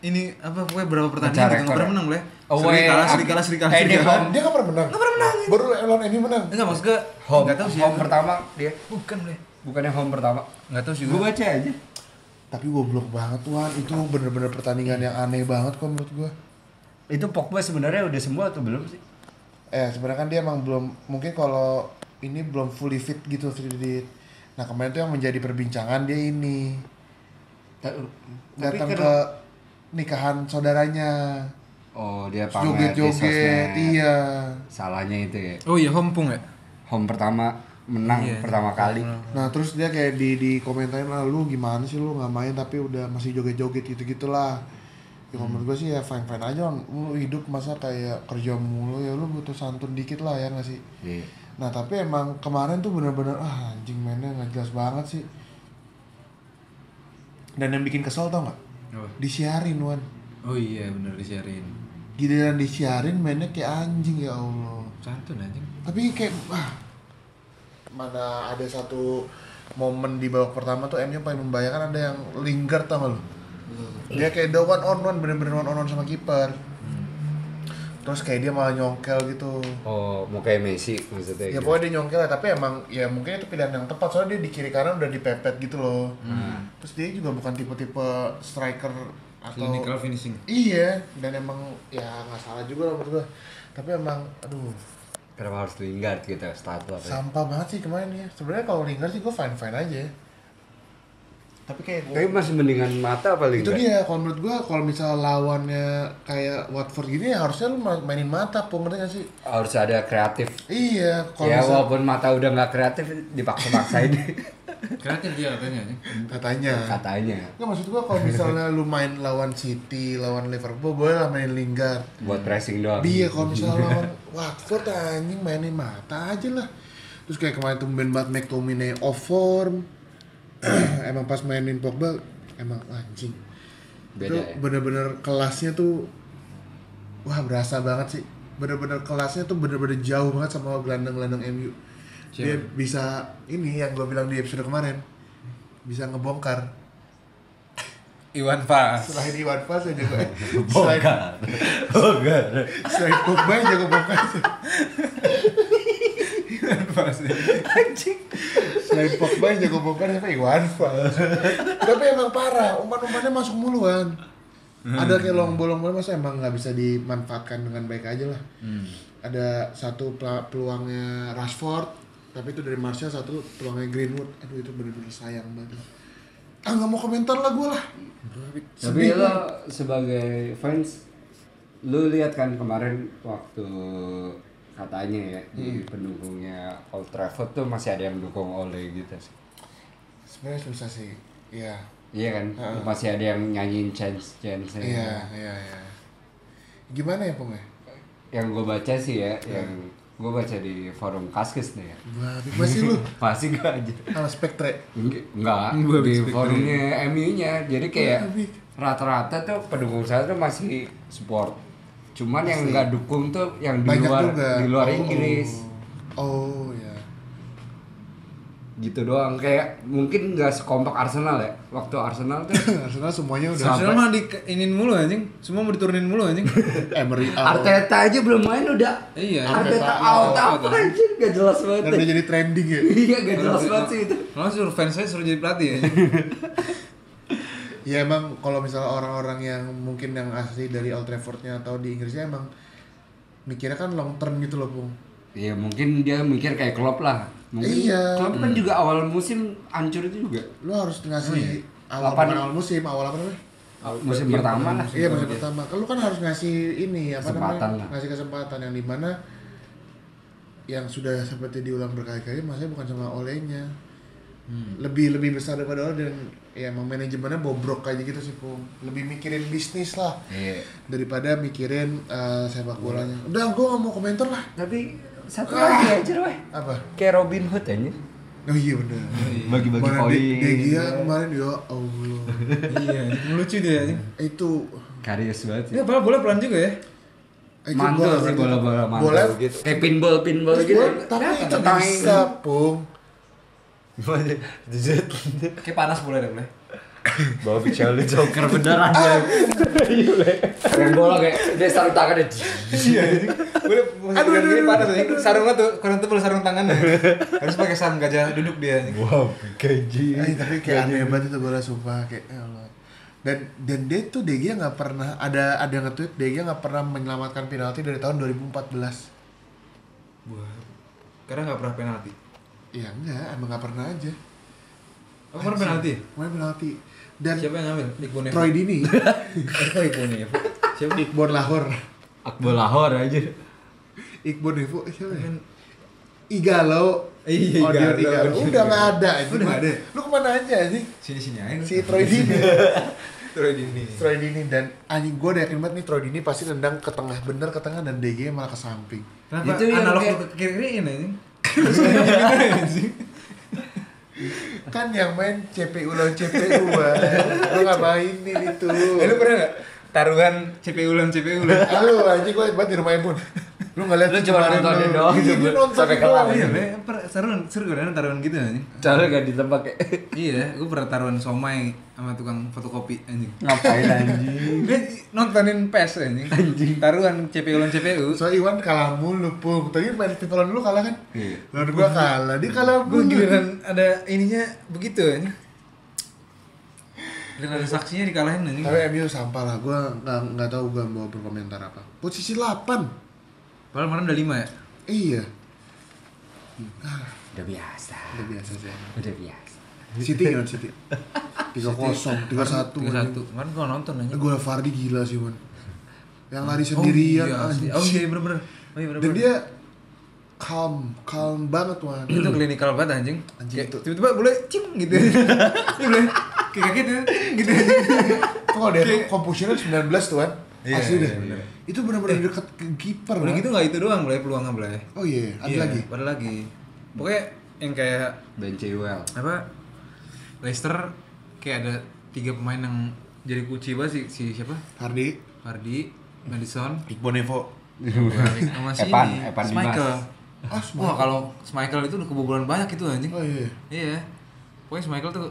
ini apa pokoknya berapa pertandingan
Pecah
gitu nggak
rekor
pernah
ya?
menang Blay seri
Away,
kalah seri
ak-
kalah seri kalah
eh,
seri
dia
kalah
dia gak pernah menang gak pernah menang baru lawan MU menang
enggak maksud gue
home
nggak tahu sih
home pertama dia
bukan Blay
bukannya home pertama
nggak tahu sih
gue
gue
baca aja
tapi goblok banget Wan itu bener-bener pertandingan yang aneh banget kok menurut gua
itu Pogba sebenarnya udah sembuh atau belum sih
eh sebenarnya kan dia emang belum mungkin kalau ini belum fully fit gitu fully fit. nah kemarin tuh yang menjadi perbincangan dia ini
Ta- tapi
datang
kan-
ke nikahan saudaranya
oh dia
Terus
pamer di
joget-joget
sosmed
iya
salahnya itu ya
oh iya home pung ya
home pertama menang
Iya.
pertama kali
nah terus dia kayak di di komentarin lah lu gimana sih lu nggak main tapi udah masih joget-joget gitu gitulah ya kalau menurut gue sih ya fine fine aja Wan. lu hidup masa kayak kerja mulu ya lu butuh santun dikit lah ya nggak sih
Iya.
Nah tapi emang kemarin tuh bener-bener ah anjing mainnya nggak jelas banget sih. Dan yang bikin kesel tau nggak?
Apa?
Disiarin Wan.
oh iya bener disiarin
Giliran disiarin mainnya kayak anjing ya Allah.
santun anjing
Tapi kayak ah mana ada satu momen di babak pertama tuh MU paling membayangkan ada yang linger tau nggak lu? Dia kayak the one on one bener-bener one on one sama kiper. Terus kayak dia malah nyongkel gitu.
oh mau kayak Messi maksudnya
Ya
gitu.
pokoknya dia nyongkel ya, tapi emang ya mungkin itu pilihan yang tepat soalnya dia di kiri kanan udah dipepet gitu loh.
Hmm.
Terus dia juga bukan tipe-tipe striker atau
clinical finishing
Iya, dan emang ya nggak salah juga lah menurut gua. Tapi emang aduh,
kenapa harus Lingard gitu status apa ya?
sampah banget sih kemarin ya. Sebenarnya kalau Lingard sih gua fine-fine aja. ya. Tapi kayak
tapi masih mendingan mata apa
itu
Lingard
dia kalau menurut gua kalau misalnya lawannya kayak Watford gini ya harusnya lu ma- mainin mata, pun ngerti nggak sih?
harus ada kreatif
Iya, kalau
ya
misalnya
walaupun mata udah nggak kreatif dipaksa-paksain
kreatif dia katanya anjing.
katanya.
katanya
Nggak maksud gua kalau misalnya lu main lawan City, lawan Liverpool boleh lah main Lingard.
buat pressing doang
Dia Iya, kalau misalnya lawan Watford anjing mainin mata aja lah. Terus kayak kemarin tumben banget McTominay off form. emang pas mainin Pogba emang anjing.
beda
itu
ya
bener-bener kelasnya tuh wah berasa banget sih. Bener-bener kelasnya tuh bener-bener jauh banget sama gelandang-gelandang MU. Dia bisa ini yang gua bilang di episode kemarin bisa ngebongkar
Iwan Fals
selain Iwan Fals yang jago selain selain Pogba yang jago bongkar selain Pogba yang jago bongkar siapa Iwan Fals tapi emang parah umpan-umpannya masuk muluan ada kayak long bolong bolong masa emang nggak bisa dimanfaatkan dengan baik aja lah ada satu pel- peluangnya Rashford tapi itu dari Martial satu peluangnya Greenwood aduh itu bener-bener sayang banget ah nggak mau komentar lah gue lah
tapi lo sebagai fans lu lihat kan kemarin waktu katanya ya di
Hmm.
pendukungnya Old Trafford tuh masih ada yang dukung oleh gitu sih
sebenarnya susah sih iya
iya kan masih ada yang nyanyiin chance chance
Iya, iya, iya. Gimana ya, Pong? ya?
yang gue baca sih ya yang gue baca di forum Kaskis deh ya
Wah, Big Mas sih lu
pasti gak aja
sama Spectre.
enggak
Gua
di
habis pikir.
forumnya MU nya jadi kayak rata-rata tuh pendukung saya tuh masih support cuman yang nggak dukung tuh yang di
Banyak
luar
juga.
di luar
Oh,
Inggris
Oh, ya.
gitu doang kayak mungkin nggak sekompak Arsenal ya waktu Arsenal tuh
Arsenal semuanya udah
Arsenal mah diinin mulu anjing, semua mau diturunin mulu anjing.
Emery out.
Arteta aja belum main udah
Iya.
Arteta
Arteta
out
out.
apa anjir gak jelas banget
Dan udah jadi trending ya.
iya gak jelas banget sih itu
Malah suruh fans saya suruh jadi pelatih ya.
Ya emang kalau misalnya orang-orang yang mungkin yang asli dari Old Traffordnya atau di Inggrisnya emang mikirnya kan long term gitu loh, Pung.
Iya mungkin dia mikir kayak Klopp lah mungkin
Iya.
Klopp kan juga awal musim hancur itu juga
Lu harus ngasih awal
Apa
bukan
nih?
awal musim, awal apa namanya?
musim pertama lah
Iya musim pertama. Kan lu kan harus ngasih ini apa
Kesempatan
namanya?
lah.
Ngasih kesempatan yang dimana yang sudah seperti diulang berkali-kali, maksudnya bukan sama olehnya.
Hmm.
Lebih lebih besar daripada oleh dan ya emang manajemennya bobrok aja gitu sih Pung. Lebih mikirin bisnis lah
Iya.
daripada mikirin eh, sepak bolanya. Udah, gua nggak mau komentar lah.
Tapi satu lagi aja weh.
Apa?
Kayak Robin Hood aja.
Oh iya benar.
Bagi-bagi
Kemarin De-
poin.
gitu.
De Gea kemarin ya Allah.
iya lucu dia anjing.
itu
Karius banget sih.
ya bola bola pelan juga ya
Eh, itu
Mantul
gua
sih
ngerti.
bola-bola mantul
Bola
gitu. Kayak pinball pinball
Terus
gitu.
bola, tapi itu bisa pung.
Gimana? Jujur.
kayak panas bola deh boleh
Bawa bicara lu joker beneran.
Kayak bola kayak dia sarung tangannya.
boleh aduh aduh aduh panas anjing. sarungnya tuh kurang tebel sarung tangannya harus pakai sarung gajah duduk dia anjing.
Wow, gaji.
Eh, tapi kayak aneh banget itu bola sumpah kayak ya Allah. Dan dan dia tuh De Gea nggak pernah ada ada yang nge-tweet De Gea nggak pernah menyelamatkan penalti dari tahun 2014.
Wah. karena nggak pernah penalti
Ya enggak, emang nggak pernah aja.
oh pernah penalti
Main penalti dan
siapa yang ngambil Iqbal Nevo
Troy Dini,
oh Iqbal Nevo siapa
Iqbal Lahor,
Akbol Lahore aja.
Iqbal Nevo, eh, siapa ya? Igalo,
Iya,
Odion
Igalo,
Igalo,
bener.
udah nggak ada, anjing.
Udah nggak ada.
Lu kemana aja sih?
sini sini aja
Si Troy Dini,
Troy Dini
Troy Dini dan anjing gue udah yakin banget nih Troy Dini pasti nendang ke tengah bener ke tengah dan DG malah ke samping.
Kenapa
Itu yang
analog
kayak-
lu ke kiri-kiriin anjing?
Kan yang main CPU lawan CPU gua. Lu nggak mainin itu.
Eh lu pernah nggak taruhan CPU lan CPU lan?
Halo anjing gue banget di rumah Imun. Lu nggak lihat
Lu cuma
kemarin
nontonin
lu.
doang, gitu,
Iya, gua nonton
sampai
doang.
kalah.
Iya, gue pernah taruhan seru kan taruhan gitu anjing.
Cara gak ditebak kayak
Iya, gue pernah taruhan somai sama tukang fotokopi anjing.
ngapain anjing.
Dia nontonin PES anjing. Taruhan CPU lan CPU.
So Iwan kalah mulu pung. Tadi main FIFA lawan lu kalah kan?
Iya.
Lawan gua kalah, dia kalah
Gue
mulu.
giliran ada ininya begitu anjing. Giliran ada saksinya dikalahin anjing.
Tapi MU sampah lah, gue nggak nggak tahu gue mau berkomentar apa. Posisi 8
Padahal kemarin udah lima ya.
iya
Udah biasa.
udah biasa sih.
Udah biasa.
City gimana City? Tiga kosong, tiga satu,
satu. Kemarin gue nonton anjing.
Gue Fardi gila sih Wan. Yang lari
Oh
sendirian,
iya, asli.
anjing.
Oh iya, bener-bener. Oh iya, bener-bener.
Dan dia calm, calm banget Wan.
itu klinikal banget anjing
Anjing
Kayak
itu.
tiba-tiba boleh cing gitu Iya, boleh kayak kaget ya gitu
Itu kalau dia tuh komposisinya 19 tuh Wan.
Iya,
Asli
iya,
deh.
bener. Eh.
Itu benar-benar deket ke kiper.
udah
Wan.
gitu nggak itu doang boleh peluangnya boleh
Oh iya, ada
Iya,
lagi.
ada lagi pokoknya yang kayak
Dan Cewel.
apa Leicester kayak ada tiga pemain yang jadi kunci banget sih si siapa
Fardi,
Hardy Madison
Iqbal Nevo.
sama si
Evan,
ini
Evan
Schmeichel
ah
wah
semua.
kalau Schmeichel itu udah kebobolan banyak itu anjing
Oh iya.
Iya. Pokoknya Michael tuh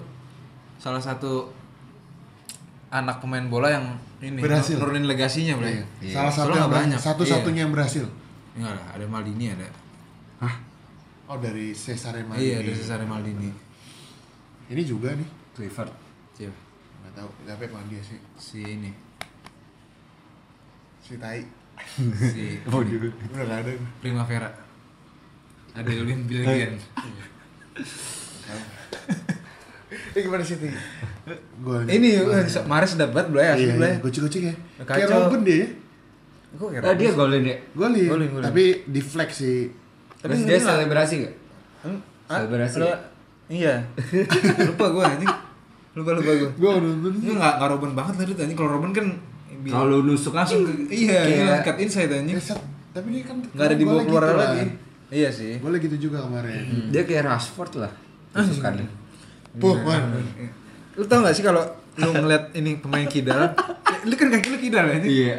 salah satu anak pemain bola yang ini
Berhasil.
nur- nurunin legasinya boleh.
Iya.
Iya.
Salah satu yang berhasil. Satu-satunya yang berhasil.
Enggak lah, Iya. ada Maldini ada.
Oh dari Cesare
Iya,
Maldini.
ada Cesare Maldini.
Ini juga nih.
Clifford.
Siapa?
Gak tahu, tapi emang dia sih.
Si ini.
Si Tai.
Si
Waduh.
Udah gak ada.
Primavera. Ada William Bilgian.
Eh gimana Siti? Gua
ini eh, Maris dapat boleh
Iya,
asli
iya,
boleh.
gocek-gocek ya.
Kacau.
Kayak Robin deh.
Gue kira.
Oh dia golin ya.
Golin.
Golin, golin.
Tapi di flag sih.
Tapi
Terus
ini
dia
lah.
selebrasi gak?
Hmm? Ah,
Selebrasi
lu-
ya?
Iya. Lupa gue anjing. Lupa lupa gue.
Gua nonton.
Ini nggak nggak Robin banget lah itu anjing. Kalau Robin kan bi-
Kalau nusuk
langsung ke iya
Kayak-
iya cut inside anjing.
Eh, set. Tapi dia kan
Nggak ada dibawa keluar lagi. Hmm. Iya sih.
Gue lagi itu juga kemarin.
Hmm. Dia kayak Rashford lah. kan. Nusukannya.
Puh,
Iya.
man.
Lu tau gak sih kalau lu ngeliat ini pemain kidal, lu kan kaki lu kidal ya ini.
Iya.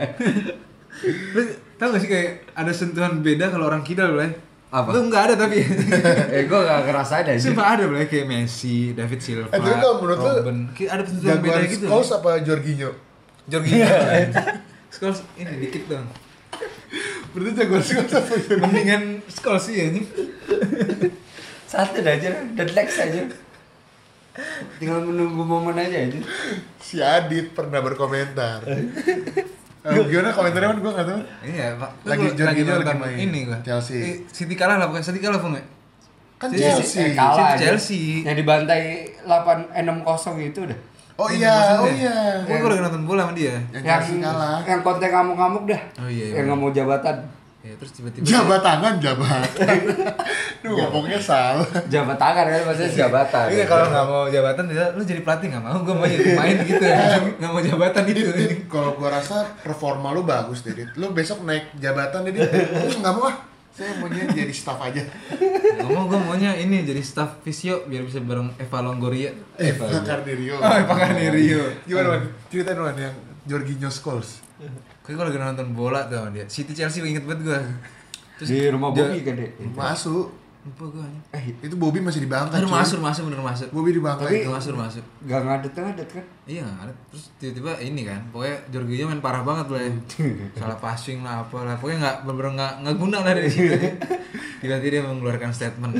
Lu tau gak sih kayak ada sentuhan beda kalau orang kidal boleh?
Apa?
Lu nggak ada tapi.
eh gue gak ngerasain aja.
Sumpah ada boleh kayak Messi, David Silva,
Eh, tapi kalau menurut lu,
Robben. Kayak ada sentuhan beda
Jagoan
gitu.
Scholes apa Jorginho?
Jorginho. Scholes ini dikit dong.
Berarti jagoan Scholes apa gitu? Jorginho?
Mendingan Scholes sih ya ini.
Satu aja, deadlex aja. Tinggal menunggu momen aja aja.
Si Adit pernah berkomentar. Eh, gimana komentarnya kan gue gak tau.
Iya, Pak.
Lagi
Lu
Jorginho lagi
nonton
main.
Ini gua.
Chelsea.
Eh, City kalah lah bukan? City kalah pun nggak?
Kan
Chelsea.
Chelsea.
Eh, kalah
Chelsea,
aja.
Chelsea.
Yang dibantai 8 eh, 6-0 itu udah.
Oh iya, oh iya.
Gue lagi nonton bola sama dia.
Yang Chelsea kalah.
Yang konten ngamuk-ngamuk dah.
Oh iya, iya.
Yang nggak mau jabatan.
Ya, terus tiba-tiba
Jabat tangan, jabat. Duh, ngomongnya salah.
Jabat tangan kan maksudnya jabatan.
Iya kalau nggak mau jabatan dia lu jadi pelatih nggak mau gue mau jadi main gitu ya nggak mau jabatan
Gitu,
itu
Iya. Dit, kalau gua rasa performa lu bagus, Dit. Lu besok naik jabatan, Dit. Nggak mau ah. Saya maunya jadi staff aja.
Ngomong gue maunya ini jadi staff visio biar bisa bareng Eva Iya. Longgoria.
Eva Cardirio.
Oh, pakar nih Rio.
Ah, Gimana Wan? Hmm. Ceritain Wan yang Jorginho Scholes.
Kayak gue lagi nonton bola tuh sama dia. City Chelsea inget banget gue. Terus
di rumah
dia-
Bobby kan deh
Iya. Masuk. Eh,
lupa Eh, gue hanya.
Itu Bobby masih di Bangka.
Bener
cuy.
masuk masuk bener masuk.
Bobby di Bangka.
Bener masuk masuk.
gak ngadet ngadet kan
Iya nggak ada. Terus tiba-tiba ini kan, pokoknya Jorginho main parah banget lah ya.
Hmm.
Salah passing lah apalah. Pokoknya nggak bener-bener nggak nggak guna lah dari situ. Tiba-tiba dia mengeluarkan statement.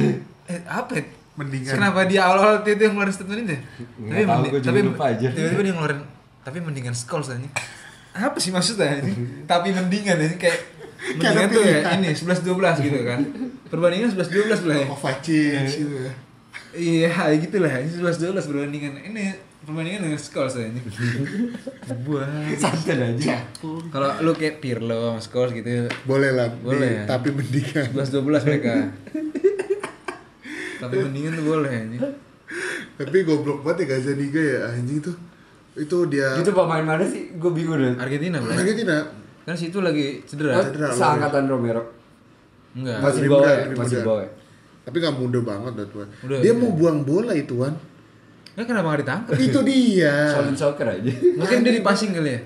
Eh apa? ya?
Mendingan.
Kenapa dia awal-awal itu yang ngeluarin statement itu? ya?
Nggak tahu,
mendi-
gua juga lupa aja.
Tiba-tiba dia ngeluarin. Tapi mendingan skol aja. Apa sih maksudnya ini? tapi mendingan ini kayak mendingan tuh ya ini 11-12 gitu kan. Perbandingan 11-12 lah ya.
Kovacic gitu ya.
Iya, gitu lah. Ini 11 12 perbandingan. Ini perbandingan dengan skor saya ini. Buah.
santai aja
Kalau lu kayak Pirlo sama skor gitu
Boleh ya. lah.
Boleh.
di- Tapi mendingan.
11 12 mereka. Tapi mendingan tuh boleh ini.
Tapi goblok banget ya Gazaniga ya anjing itu. Itu dia
itu pemain mana sih gue bingung deh
Argentina boleh.
Argentina.
Kan situ lagi cedera.
Cedera,
Oh, Seangkatan Romero.
Enggak.
Masih
Lebih
di bawah
muda,
ya?
lebih
Masih
muda.
di bawah ya?
Tapi nggak muda banget dah tuan.
Udah,
dia
iya.
mau buang bola itu Wan.
Kan kenapa enggak ditangkap?
itu dia.
solid soccer aja
Mungkin dia dipassing kali ya.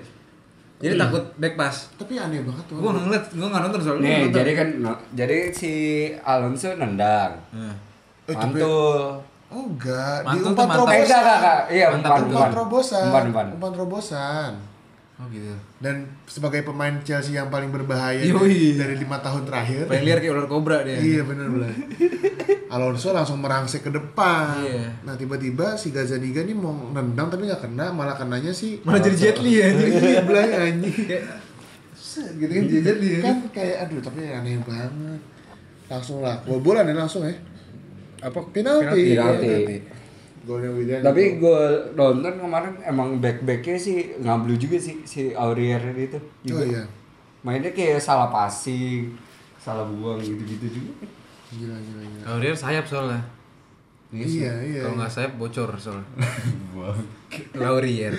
Jadi takut back pass.
Tapi aneh banget tuan.
Gua nggak ngeliat, gua nggak nonton soalnya.
Nih,
Gua nonton.
jadi kan no- jadi si Alonso nendang.
Nah.
Eh, tapi-
Mantul.
Oh enggak, di
Mantul tuh
umpan
mantul.
Eh, enggak,
terobosan.
enggak, enggak. Iya,
Mantap,
umpan,
Umpan
umpan.
terobosan.
Umpan, umpan.
Umpan terobosan.
Oh gitu.
Dan sebagai pemain Chelsea yang paling berbahaya
Yoi.
dari lima tahun terakhir.
Pengen liar kayak ular kobra dia.
Iya benar benar. Alonso langsung merangsek ke depan.
Iya.
Nah tiba-tiba si Gazaniga nih mau nendang tapi nggak kena, malah kenanya sih.
Malah jadi Jet Li ya. anjing.
Iya belanya anjing.
Kayak set, gitu kan jadi Jet Li. ya.
Kan kayak aduh tapi aneh banget. Langsung lah, gol bola nih langsung ya. Apa penalti? Iya,
Penalti.
Golnya Willian.
Iya, Tapi gue nonton kemarin emang back-backnya sih ngablu juga sih si Aurier itu.
oh
Juga.
iya.
Mainnya kayak salah passing, salah buang gitu-gitu juga.
Gila gila gila.
Kalau dia sayap soalnya.
Iya, iya,
Kalau
iya.
nggak sayap bocor soalnya. ya. Laurier.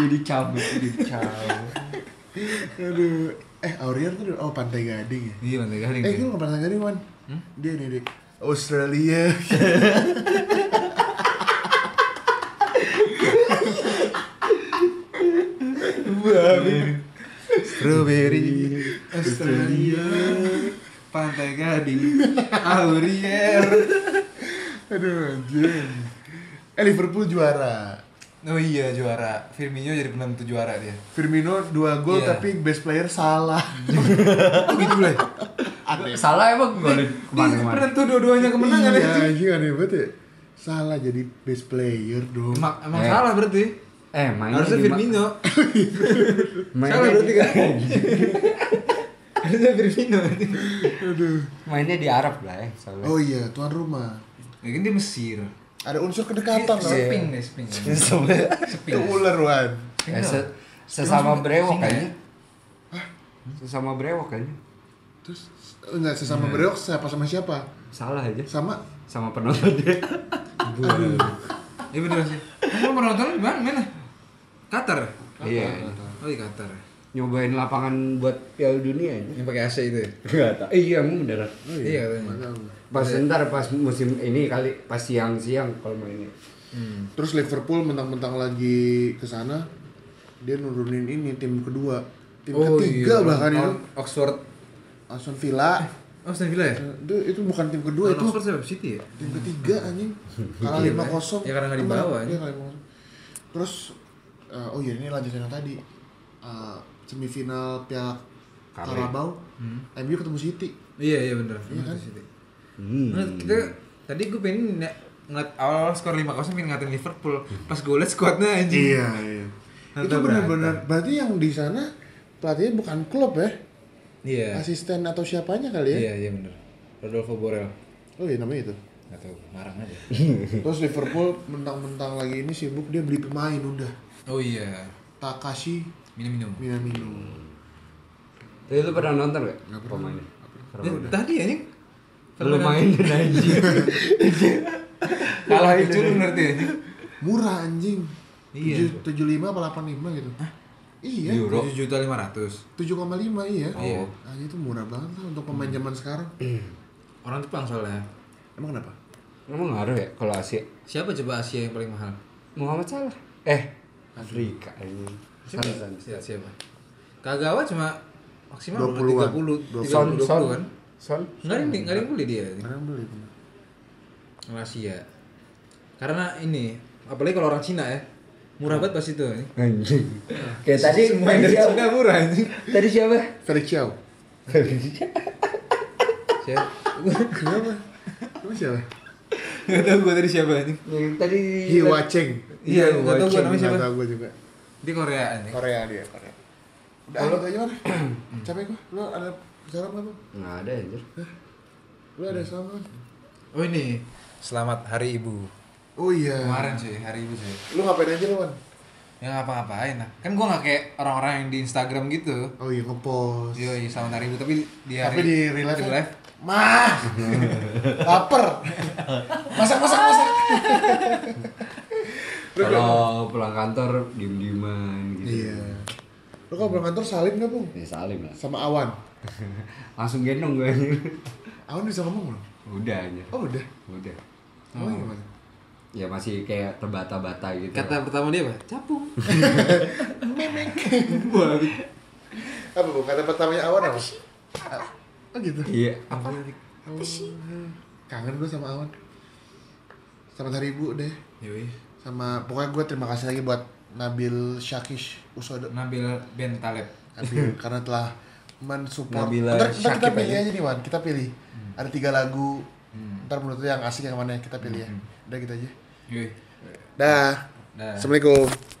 Jadi cabut, jadi cabut.
Aduh. Eh Aurier tuh oh Pantai Gading ya.
Iya mantap kali.
Eh itu bukan Pantai Gading Hmm? Wan. Dia nih Dik. Australia.
Strawberry Australia Pantai Gading ya. Laurier.
Aduh anjing. Eh Liverpool juara.
Oh iya juara. Firmino jadi penentu juara dia.
Firmino 2 gol
Iya.
tapi best player salah.
Oh gitu boleh.
salah Ah, emang gue
Dia
kemarin-kemarin.
penentu dua-duanya kemenangan
iya,
ya.
anjing aneh banget ya. Salah jadi best player dong.
Emang, emang
Eh.
salah berarti.
Eh, mainnya
Harusnya
di ma-
Firmino.
mainnya
Salah
di-
berarti kan? Harusnya Firmino.
Aduh.
mainnya di Arab lah ya. soalnya.
Oh iya, tuan rumah.
Mungkin Ya kan dia Mesir.
Ada unsur kedekatan lah.
Seping deh, seping.
Itu ular Wan.
Eh, se- sesama brewok kayaknya. Sesama brewok kayaknya.
Terus enggak sesama
Iya.
bereok siapa sama siapa?
Salah aja
Sama
sama penonton dia.
Iya bener sih. Kamu pernah nonton di mana? Mana? Qatar.
Iya.
Oh di Qatar.
Nyobain lapangan buat Piala Dunia aja.
Yang pakai AC itu. ya?
Enggak tahu. Eh, iya, emang beneran.
Iya katanya.
Pas ntar pas musim ini kali pas siang-siang kalau mainnya.
Terus Liverpool mentang-mentang lagi ke sana dia nurunin ini tim kedua, tim
Oh,
ketiga bahkan itu
iya, Oxford.
Aston Villa.
Oh Aston Villa ya?
Itu, itu bukan tim
Lawan
kedua itu
Oxford siapa? City ya?
tim ketiga anjing. Kalah
Iya,
5-0.
ya karena nggak dibawa,
Iya,
anjing.
kalah 5-0. Terus eh, oh iya ini lanjutin yang tadi. Eh, semifinal Piala Carabao,
Hmm.
MU ketemu City.
Iya iya bener. Iya Hmm.
kan?
City. Menurut kita tadi gue pengen ng- ngeliat awal skor 5-0 pengen ngatain Liverpool pas gue liat squadnya anjing
Iya, iya.
Nanti
itu benar-benar berarti yang di sana pelatihnya bukan klub ya?
iya
Asisten atau siapanya kali ya?
iya iya bener Rodolfo Borel
Oh iya namanya itu.
gak tau marah aja
Terus Liverpool mentang-mentang lagi ini sibuk dia beli pemain udah.
oh iya
Takashi
minum-minum
Minamino.
Tapi lu pernah nonton gak? Pemainnya.
Eh, tadi ya nih
Lu mainin aja.
kalah itu lu ngerti ya
Murah anjing.
Iya.
Tujuh- 75 apa 85 gitu. Iya.
euro
tujuh juta lima ratus
7,5 iya.
Iya.
Ah, itu murah banget lah untuk pemain
Hmm.
zaman sekarang.
Iya. orang Jepang soalnya
Emang kenapa?
emang ngaruh ya kalau Asia
siapa coba Asia yang paling mahal
Muhammad Salah eh Afrika ini San-
siapa siapa Kagawa cuma maksimal
20-an.
30
Son
30
Son
20 kan
Son
nggak ada yang di- nggak ada yang beli dia
Karena beli. bener.
Malaysia karena ini apalagi kalau orang Cina ya murah banget pas itu
anjing kayak tadi
main dari Cina murah anjing
tadi siapa
Felix Chiao.
siapa
Kenapa? Kamu siapa?
nggak tahu gue tadi siapa anjing
yang tadi
Hi Wacheng.
Iya, nggak tahu gue namanya
Nggak
siapa
tahu gue juga.
di Korea anjing
Korea dia, Korea. Udah, lu aja mana? Capek gua. Lu ada salam nggak, Bang?
nggak ada anjir
Lu ada salam nggak?
oh ini selamat hari ibu
Oh iya.
kemarin sih hari ibu sih
Lu ngapain aja lu, Wan?
ya ngapa-ngapain lah kan gue nggak kayak orang-orang yang di Instagram gitu
Oh iya, ngepost.
yo selamat hari ibu tapi di hari
Tapi di real life.
di
kan?
live
Mah. Laper. Masak masak masak.
kalau pulang kantor diem dieman gitu
Iya. Lu kalau pulang kantor salim enggak, Bung?
ya salim lah
Sama Awan.
langsung gendong gue
Awan bisa ngomong belum?
udah anjir
Oh, udah. Oh, iya,
udah
Ngomong gimana?
ya masih kayak terbata-bata gitu
kata pertama dia apa capung
Apa, Bung? Kata pertamanya Awan apa? Oh gitu.
iya apa
Apa sih? Kangen gue sama Awan. Selamat hari Ibu deh.
Yoi.
Sama pokoknya gue terima kasih lagi buat Nabil Syakish Usodo.
Nabil Ben Taleb
Nabil karena telah mensupport.
Nabila
ntar, ntar kita
Syakib
pilih
aja.
aja nih Wan, kita pilih.
Hmm.
Ada tiga lagu. Ntar menurut lu yang asik yang mana kita pilih ya. Udah gitu aja.
Yoi.
Dah.
Hmm. Dah.
Assalamualaikum.